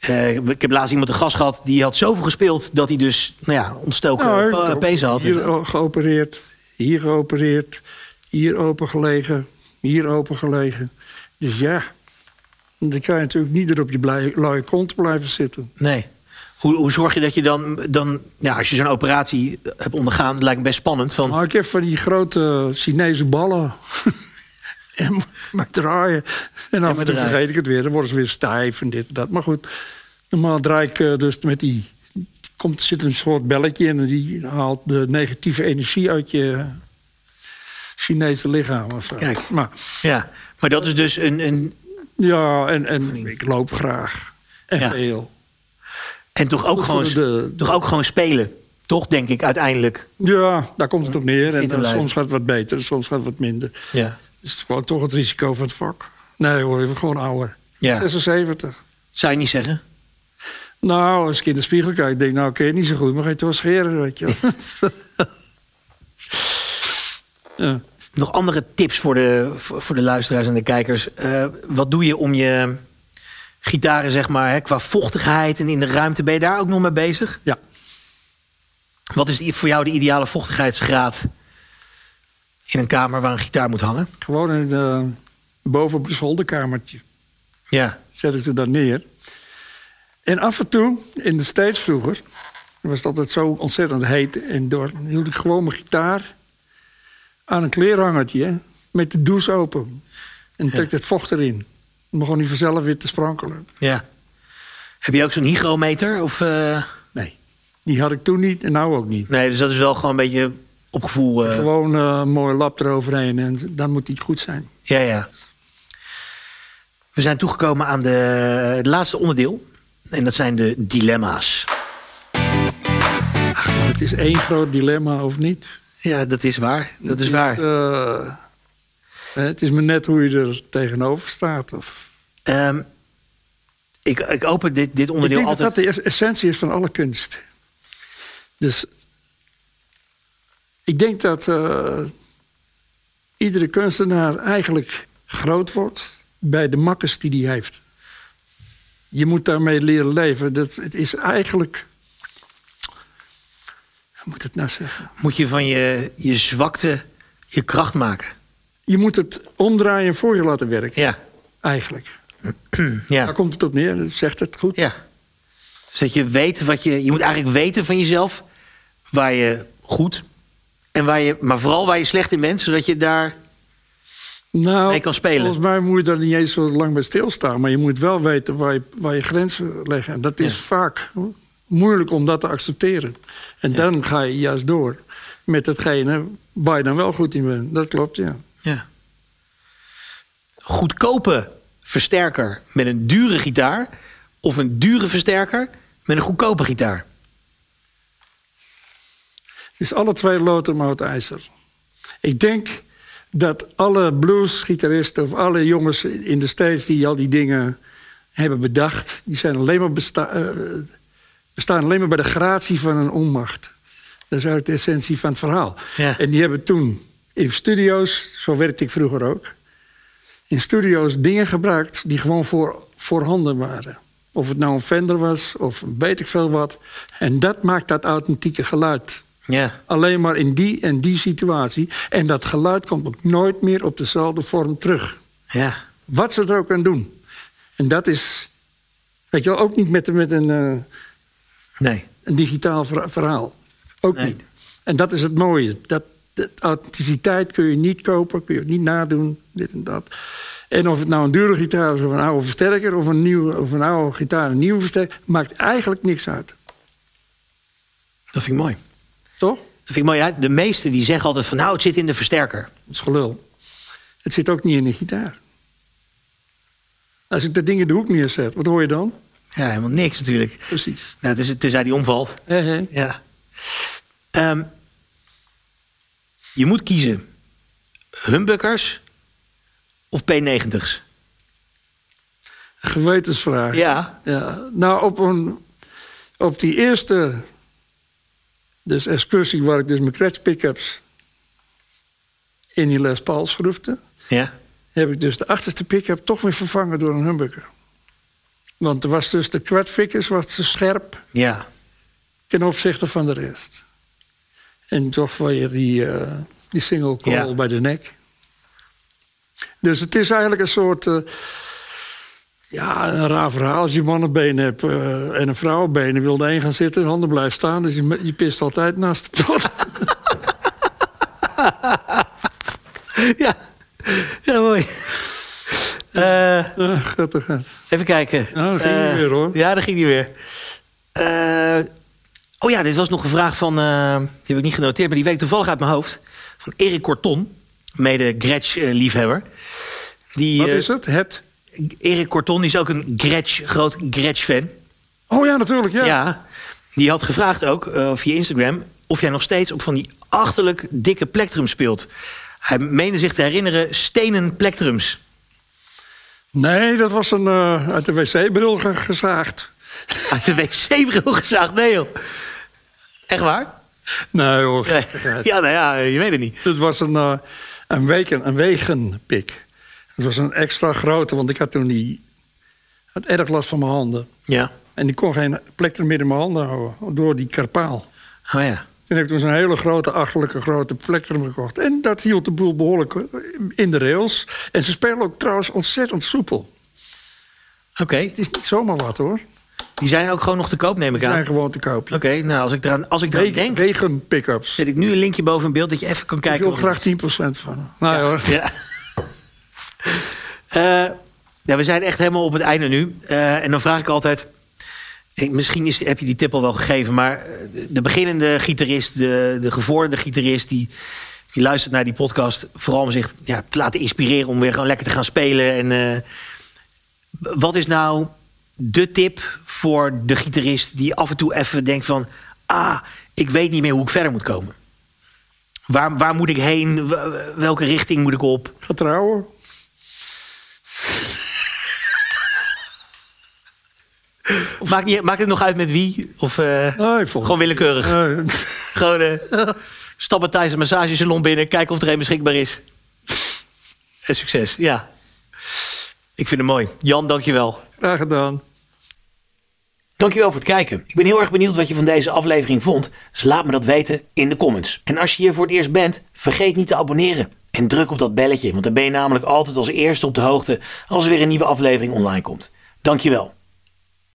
B: eh, ik heb laatst iemand een gast gehad. die had zoveel gespeeld. dat hij dus. Nou ja, ontstoken
A: Nou,
B: nou,
A: ook
B: pezen had.
A: Hier o- geopereerd, hier geopereerd, hier opengelegen, hier opengelegen. Dus ja, dan kan je natuurlijk niet er op je blij- luie kont blijven zitten.
B: Nee. Hoe, hoe zorg je dat je dan. dan ja, als je zo'n operatie hebt ondergaan. lijkt me best spannend. Van,
A: Maar ik heb van die grote Chinese ballen. en maar- maar draaien. En af en toe
B: draaien.
A: vergeet ik het weer. Dan worden ze weer stijf en dit en dat. Maar goed, normaal draai ik eh, dus met die... Komt, zit een soort belletje in en die haalt de negatieve energie uit je Chinese lichaam. Of zo.
B: Kijk.
A: Maar,
B: ja. Maar dat is dus een. een
A: ja, en, en ik loop graag. En
B: Ja.
A: veel.
B: en toch ook,
A: Goed
B: gewoon,
A: voor de-
B: toch ook gewoon spelen. Toch, denk ik, uiteindelijk.
A: Ja, daar komt het op neer. En
B: Fitter
A: dan
B: blijven.
A: soms gaat het wat beter, soms gaat het wat minder.
B: Ja.
A: Het is gewoon toch het risico van het vak. Nee hoor, je wordt gewoon ouder.
B: Ja.
A: 76.
B: Zou je niet zeggen?
A: Nou, als ik in de spiegel kijk, denk ik, nou, oké, niet zo goed, maar ga je toch wel scheren, weet je wel. Eh, ja.
B: Nog andere tips voor de, voor voor de luisteraars en de kijkers. Eh, wat doe je om je gitaren, zeg maar, hè, qua vochtigheid en in de ruimte, ben je daar ook nog mee bezig?
A: ja.
B: Wat is die- voor jou de ideale vochtigheidsgraad in een kamer waar een gitaar moet hangen?
A: Gewoon in de, boven op een zolderkamertje
B: Ja.
A: zet ik ze dan neer. En af en toe, in de steeds vroeger, was het altijd zo ontzettend heet en door, hield ik gewoon mijn gitaar aan een kleerhangertje hè, met de douche open. En trek het vocht erin. Het begon niet vanzelf weer te sprankelen.
B: ja. Heb je ook zo'n hygrometer? Of, eh,
A: Nee, die had ik toen niet en nou ook niet.
B: Nee, dus dat is wel gewoon een beetje op gevoel. eh,
A: Gewoon eh, een mooi lap eroverheen en dan moet die goed zijn.
B: Ja, ja. We zijn toegekomen aan de, het laatste onderdeel. En dat zijn de dilemma's.
A: Want het is één groot dilemma of niet.
B: Ja, dat is waar. Dat is
A: Het
B: waar.
A: eh, het is maar net hoe je er tegenover staat. Of...
B: Ehm, ik, ik open dit, dit
A: Ik
B: onderdeel
A: denk dat
B: altijd.
A: dat de es- essentie is van alle kunst. Dus ik denk dat eh, iedere kunstenaar eigenlijk groot wordt bij de makkers die hij heeft. Je moet daarmee leren leven. Dat, het is eigenlijk. Hoe moet ik het nou zeggen?
B: Moet je van je, je zwakte je kracht maken.
A: Je moet het omdraaien en voor je laten werken,
B: Ja,
A: eigenlijk. Daar
B: ja,
A: komt het op neer, dat zegt het goed.
B: ja. Dus dat je weet wat je. Je moet eigenlijk weten van jezelf waar je goed en waar je. Maar vooral waar je slecht in bent, zodat je daar.
A: Nou,
B: mee kan spelen.
A: Volgens mij moet je daar niet eens zo lang bij stilstaan. Maar je moet wel weten waar je, waar je grenzen leggen. En dat is
B: Ja.
A: vaak moeilijk om dat te accepteren. En dan ga je juist door met datgene waar je dan wel goed in bent. Dat klopt, ja.
B: Ja. Goedkope versterker met een dure gitaar. Of een dure versterker met een goedkope gitaar.
A: Dus alle twee loten maar het ijzer. Ik denk dat alle bluesgitaristen of alle jongens in de States... die al die dingen hebben bedacht... die zijn alleen maar besta- eh, bestaan alleen maar bij de gratie van een onmacht. Dat is uit de essentie van het verhaal.
B: Ja.
A: En die hebben toen in studio's, zo werkte ik vroeger ook... in studio's dingen gebruikt die gewoon voor, voorhanden waren. Of het nou een Fender was of weet ik veel wat. En dat maakt dat authentieke geluid...
B: Ja.
A: Alleen maar in die en die situatie. En dat geluid komt ook nooit meer op dezelfde vorm terug.
B: Ja.
A: Wat ze er ook aan doen. En dat is, weet je wel, ook niet met, met een, eh,
B: Nee.
A: een digitaal ver- verhaal. Ook
B: Nee.
A: niet. En dat is het mooie. Dat, dat authenticiteit kun je niet kopen, kun je niet nadoen, dit en dat. En of het nou een dure gitaar is of een oude versterker... of een, nieuwe, of een oude gitaar een nieuwe versterker... maakt eigenlijk niks uit.
B: Dat vind ik mooi.
A: Toch?
B: Dat vind ik mooi. Ja, de meesten die zeggen altijd van nou, het zit in de versterker.
A: Dat is gelul. Het zit ook niet in de gitaar. Als ik dat ding in de hoek neerzet, wat hoor je dan?
B: Ja, helemaal niks natuurlijk.
A: Precies.
B: Nou, tenzij, tenzij die omvalt.
A: Hé, hé.
B: Ja. Ehm, je moet kiezen. Humbuckers of P90's?
A: Gewetensvraag.
B: Ja.
A: Ja. Nou, op, een, op die eerste dus excursie waar ik dus mijn Kretsch pickups in die Les Pauls schroefde...
B: Ja.
A: heb ik dus de achterste pick-up toch weer vervangen door een humbucker. Want er was dus de kwartvickers was te scherp
B: Ja.
A: ten opzichte van de rest. En toch weer die, eh, die single call
B: Ja.
A: bij de nek. Dus het is eigenlijk een soort... eh, ja, een raar verhaal. Als je mannenbeen hebt eh, en een vrouwenbeen... en wil de een gaan zitten en de ander blijft staan... dus je, je pist altijd naast de pot.
B: Ja, ja mooi. Eh,
A: Ah, Grappig. hè.
B: even kijken.
A: Nou, daar ging hij
B: Eh,
A: weer, hoor.
B: Ja, daar ging hij weer. Eh, oh ja, dit was nog een vraag van... eh, die heb ik niet genoteerd, maar die weet ik toevallig uit mijn hoofd. Van Erik Corton, mede Gretsch-liefhebber. die
A: Wat
B: eh,
A: is het? Het?
B: Erik Corton die is ook een Gretsch, groot Gretsch-fan.
A: Oh ja, natuurlijk, ja.
B: Ja. Die had gevraagd ook eh, via Instagram of jij nog steeds op van die achterlijk dikke plectrum speelt. Hij meende zich te herinneren stenen plectrums.
A: Nee, dat was een, eh, uit de wc-bril ge- gezaagd.
B: Uit de wc-bril gezaagd? Nee, joh. Echt waar?
A: Nee hoor,
B: Nee. Ja, nou ja, je weet het niet.
A: Het was een, eh, een, weken, een wegenpik. Het was een extra grote, want ik had toen die... had erg last van mijn handen.
B: Ja.
A: En ik kon geen plek meer in mijn handen houden, door die karpaal.
B: Oh ja.
A: Toen heb ik dus een hele grote, achterlijke grote plektrum gekocht. En dat hield de boel behoorlijk eh, in de rails. En ze spelen ook trouwens ontzettend soepel.
B: Oké.
A: Het is niet zomaar wat hoor.
B: Die zijn ook gewoon nog te koop, neem ik
A: Ze
B: aan.
A: zijn
B: Oké,
A: gewoon te koop.
B: nou, als ik eraan, als ik eraan
A: Wegen,
B: denk,
A: wegen pick-ups.
B: zet ik nu een linkje boven in beeld dat je even kan
A: Ik
B: kijken.
A: wil
B: of-
A: graag 10% van. Nou ja, hoor.
B: Ja. Eh, ja, we zijn echt helemaal op het einde nu. Eh, en dan vraag ik altijd... eh, Misschien is, heb je die tip al wel gegeven, maar eh, de beginnende gitarist, de, de gevorderde gitarist, die, die luistert naar die podcast, vooral om zich ja, te laten inspireren om weer gewoon lekker te gaan spelen. En, eh, wat is nou de tip voor de gitarist die af en toe even denkt van, ah, ik weet niet meer hoe ik verder moet komen? Waar, waar moet ik heen? W- Welke richting moet ik op?
A: Ga trouwen.
B: Maakt, niet, maakt het nog uit met wie? Of eh,
A: Nee, volgens
B: gewoon willekeurig?
A: Nee,
B: Gewoon eh, stappen tijdens een massagesalon binnen, kijken of er een beschikbaar is. En succes, ja. Ik vind het mooi. Jan, dankjewel.
A: graag gedaan.
C: Dankjewel voor het kijken. Ik ben heel erg benieuwd wat je van deze aflevering vond. Dus laat me dat weten in de comments. En als je hier voor het eerst bent, vergeet niet te abonneren. En druk op dat belletje, want dan ben je namelijk altijd als eerste op de hoogte als er weer een nieuwe aflevering online komt. Dankjewel.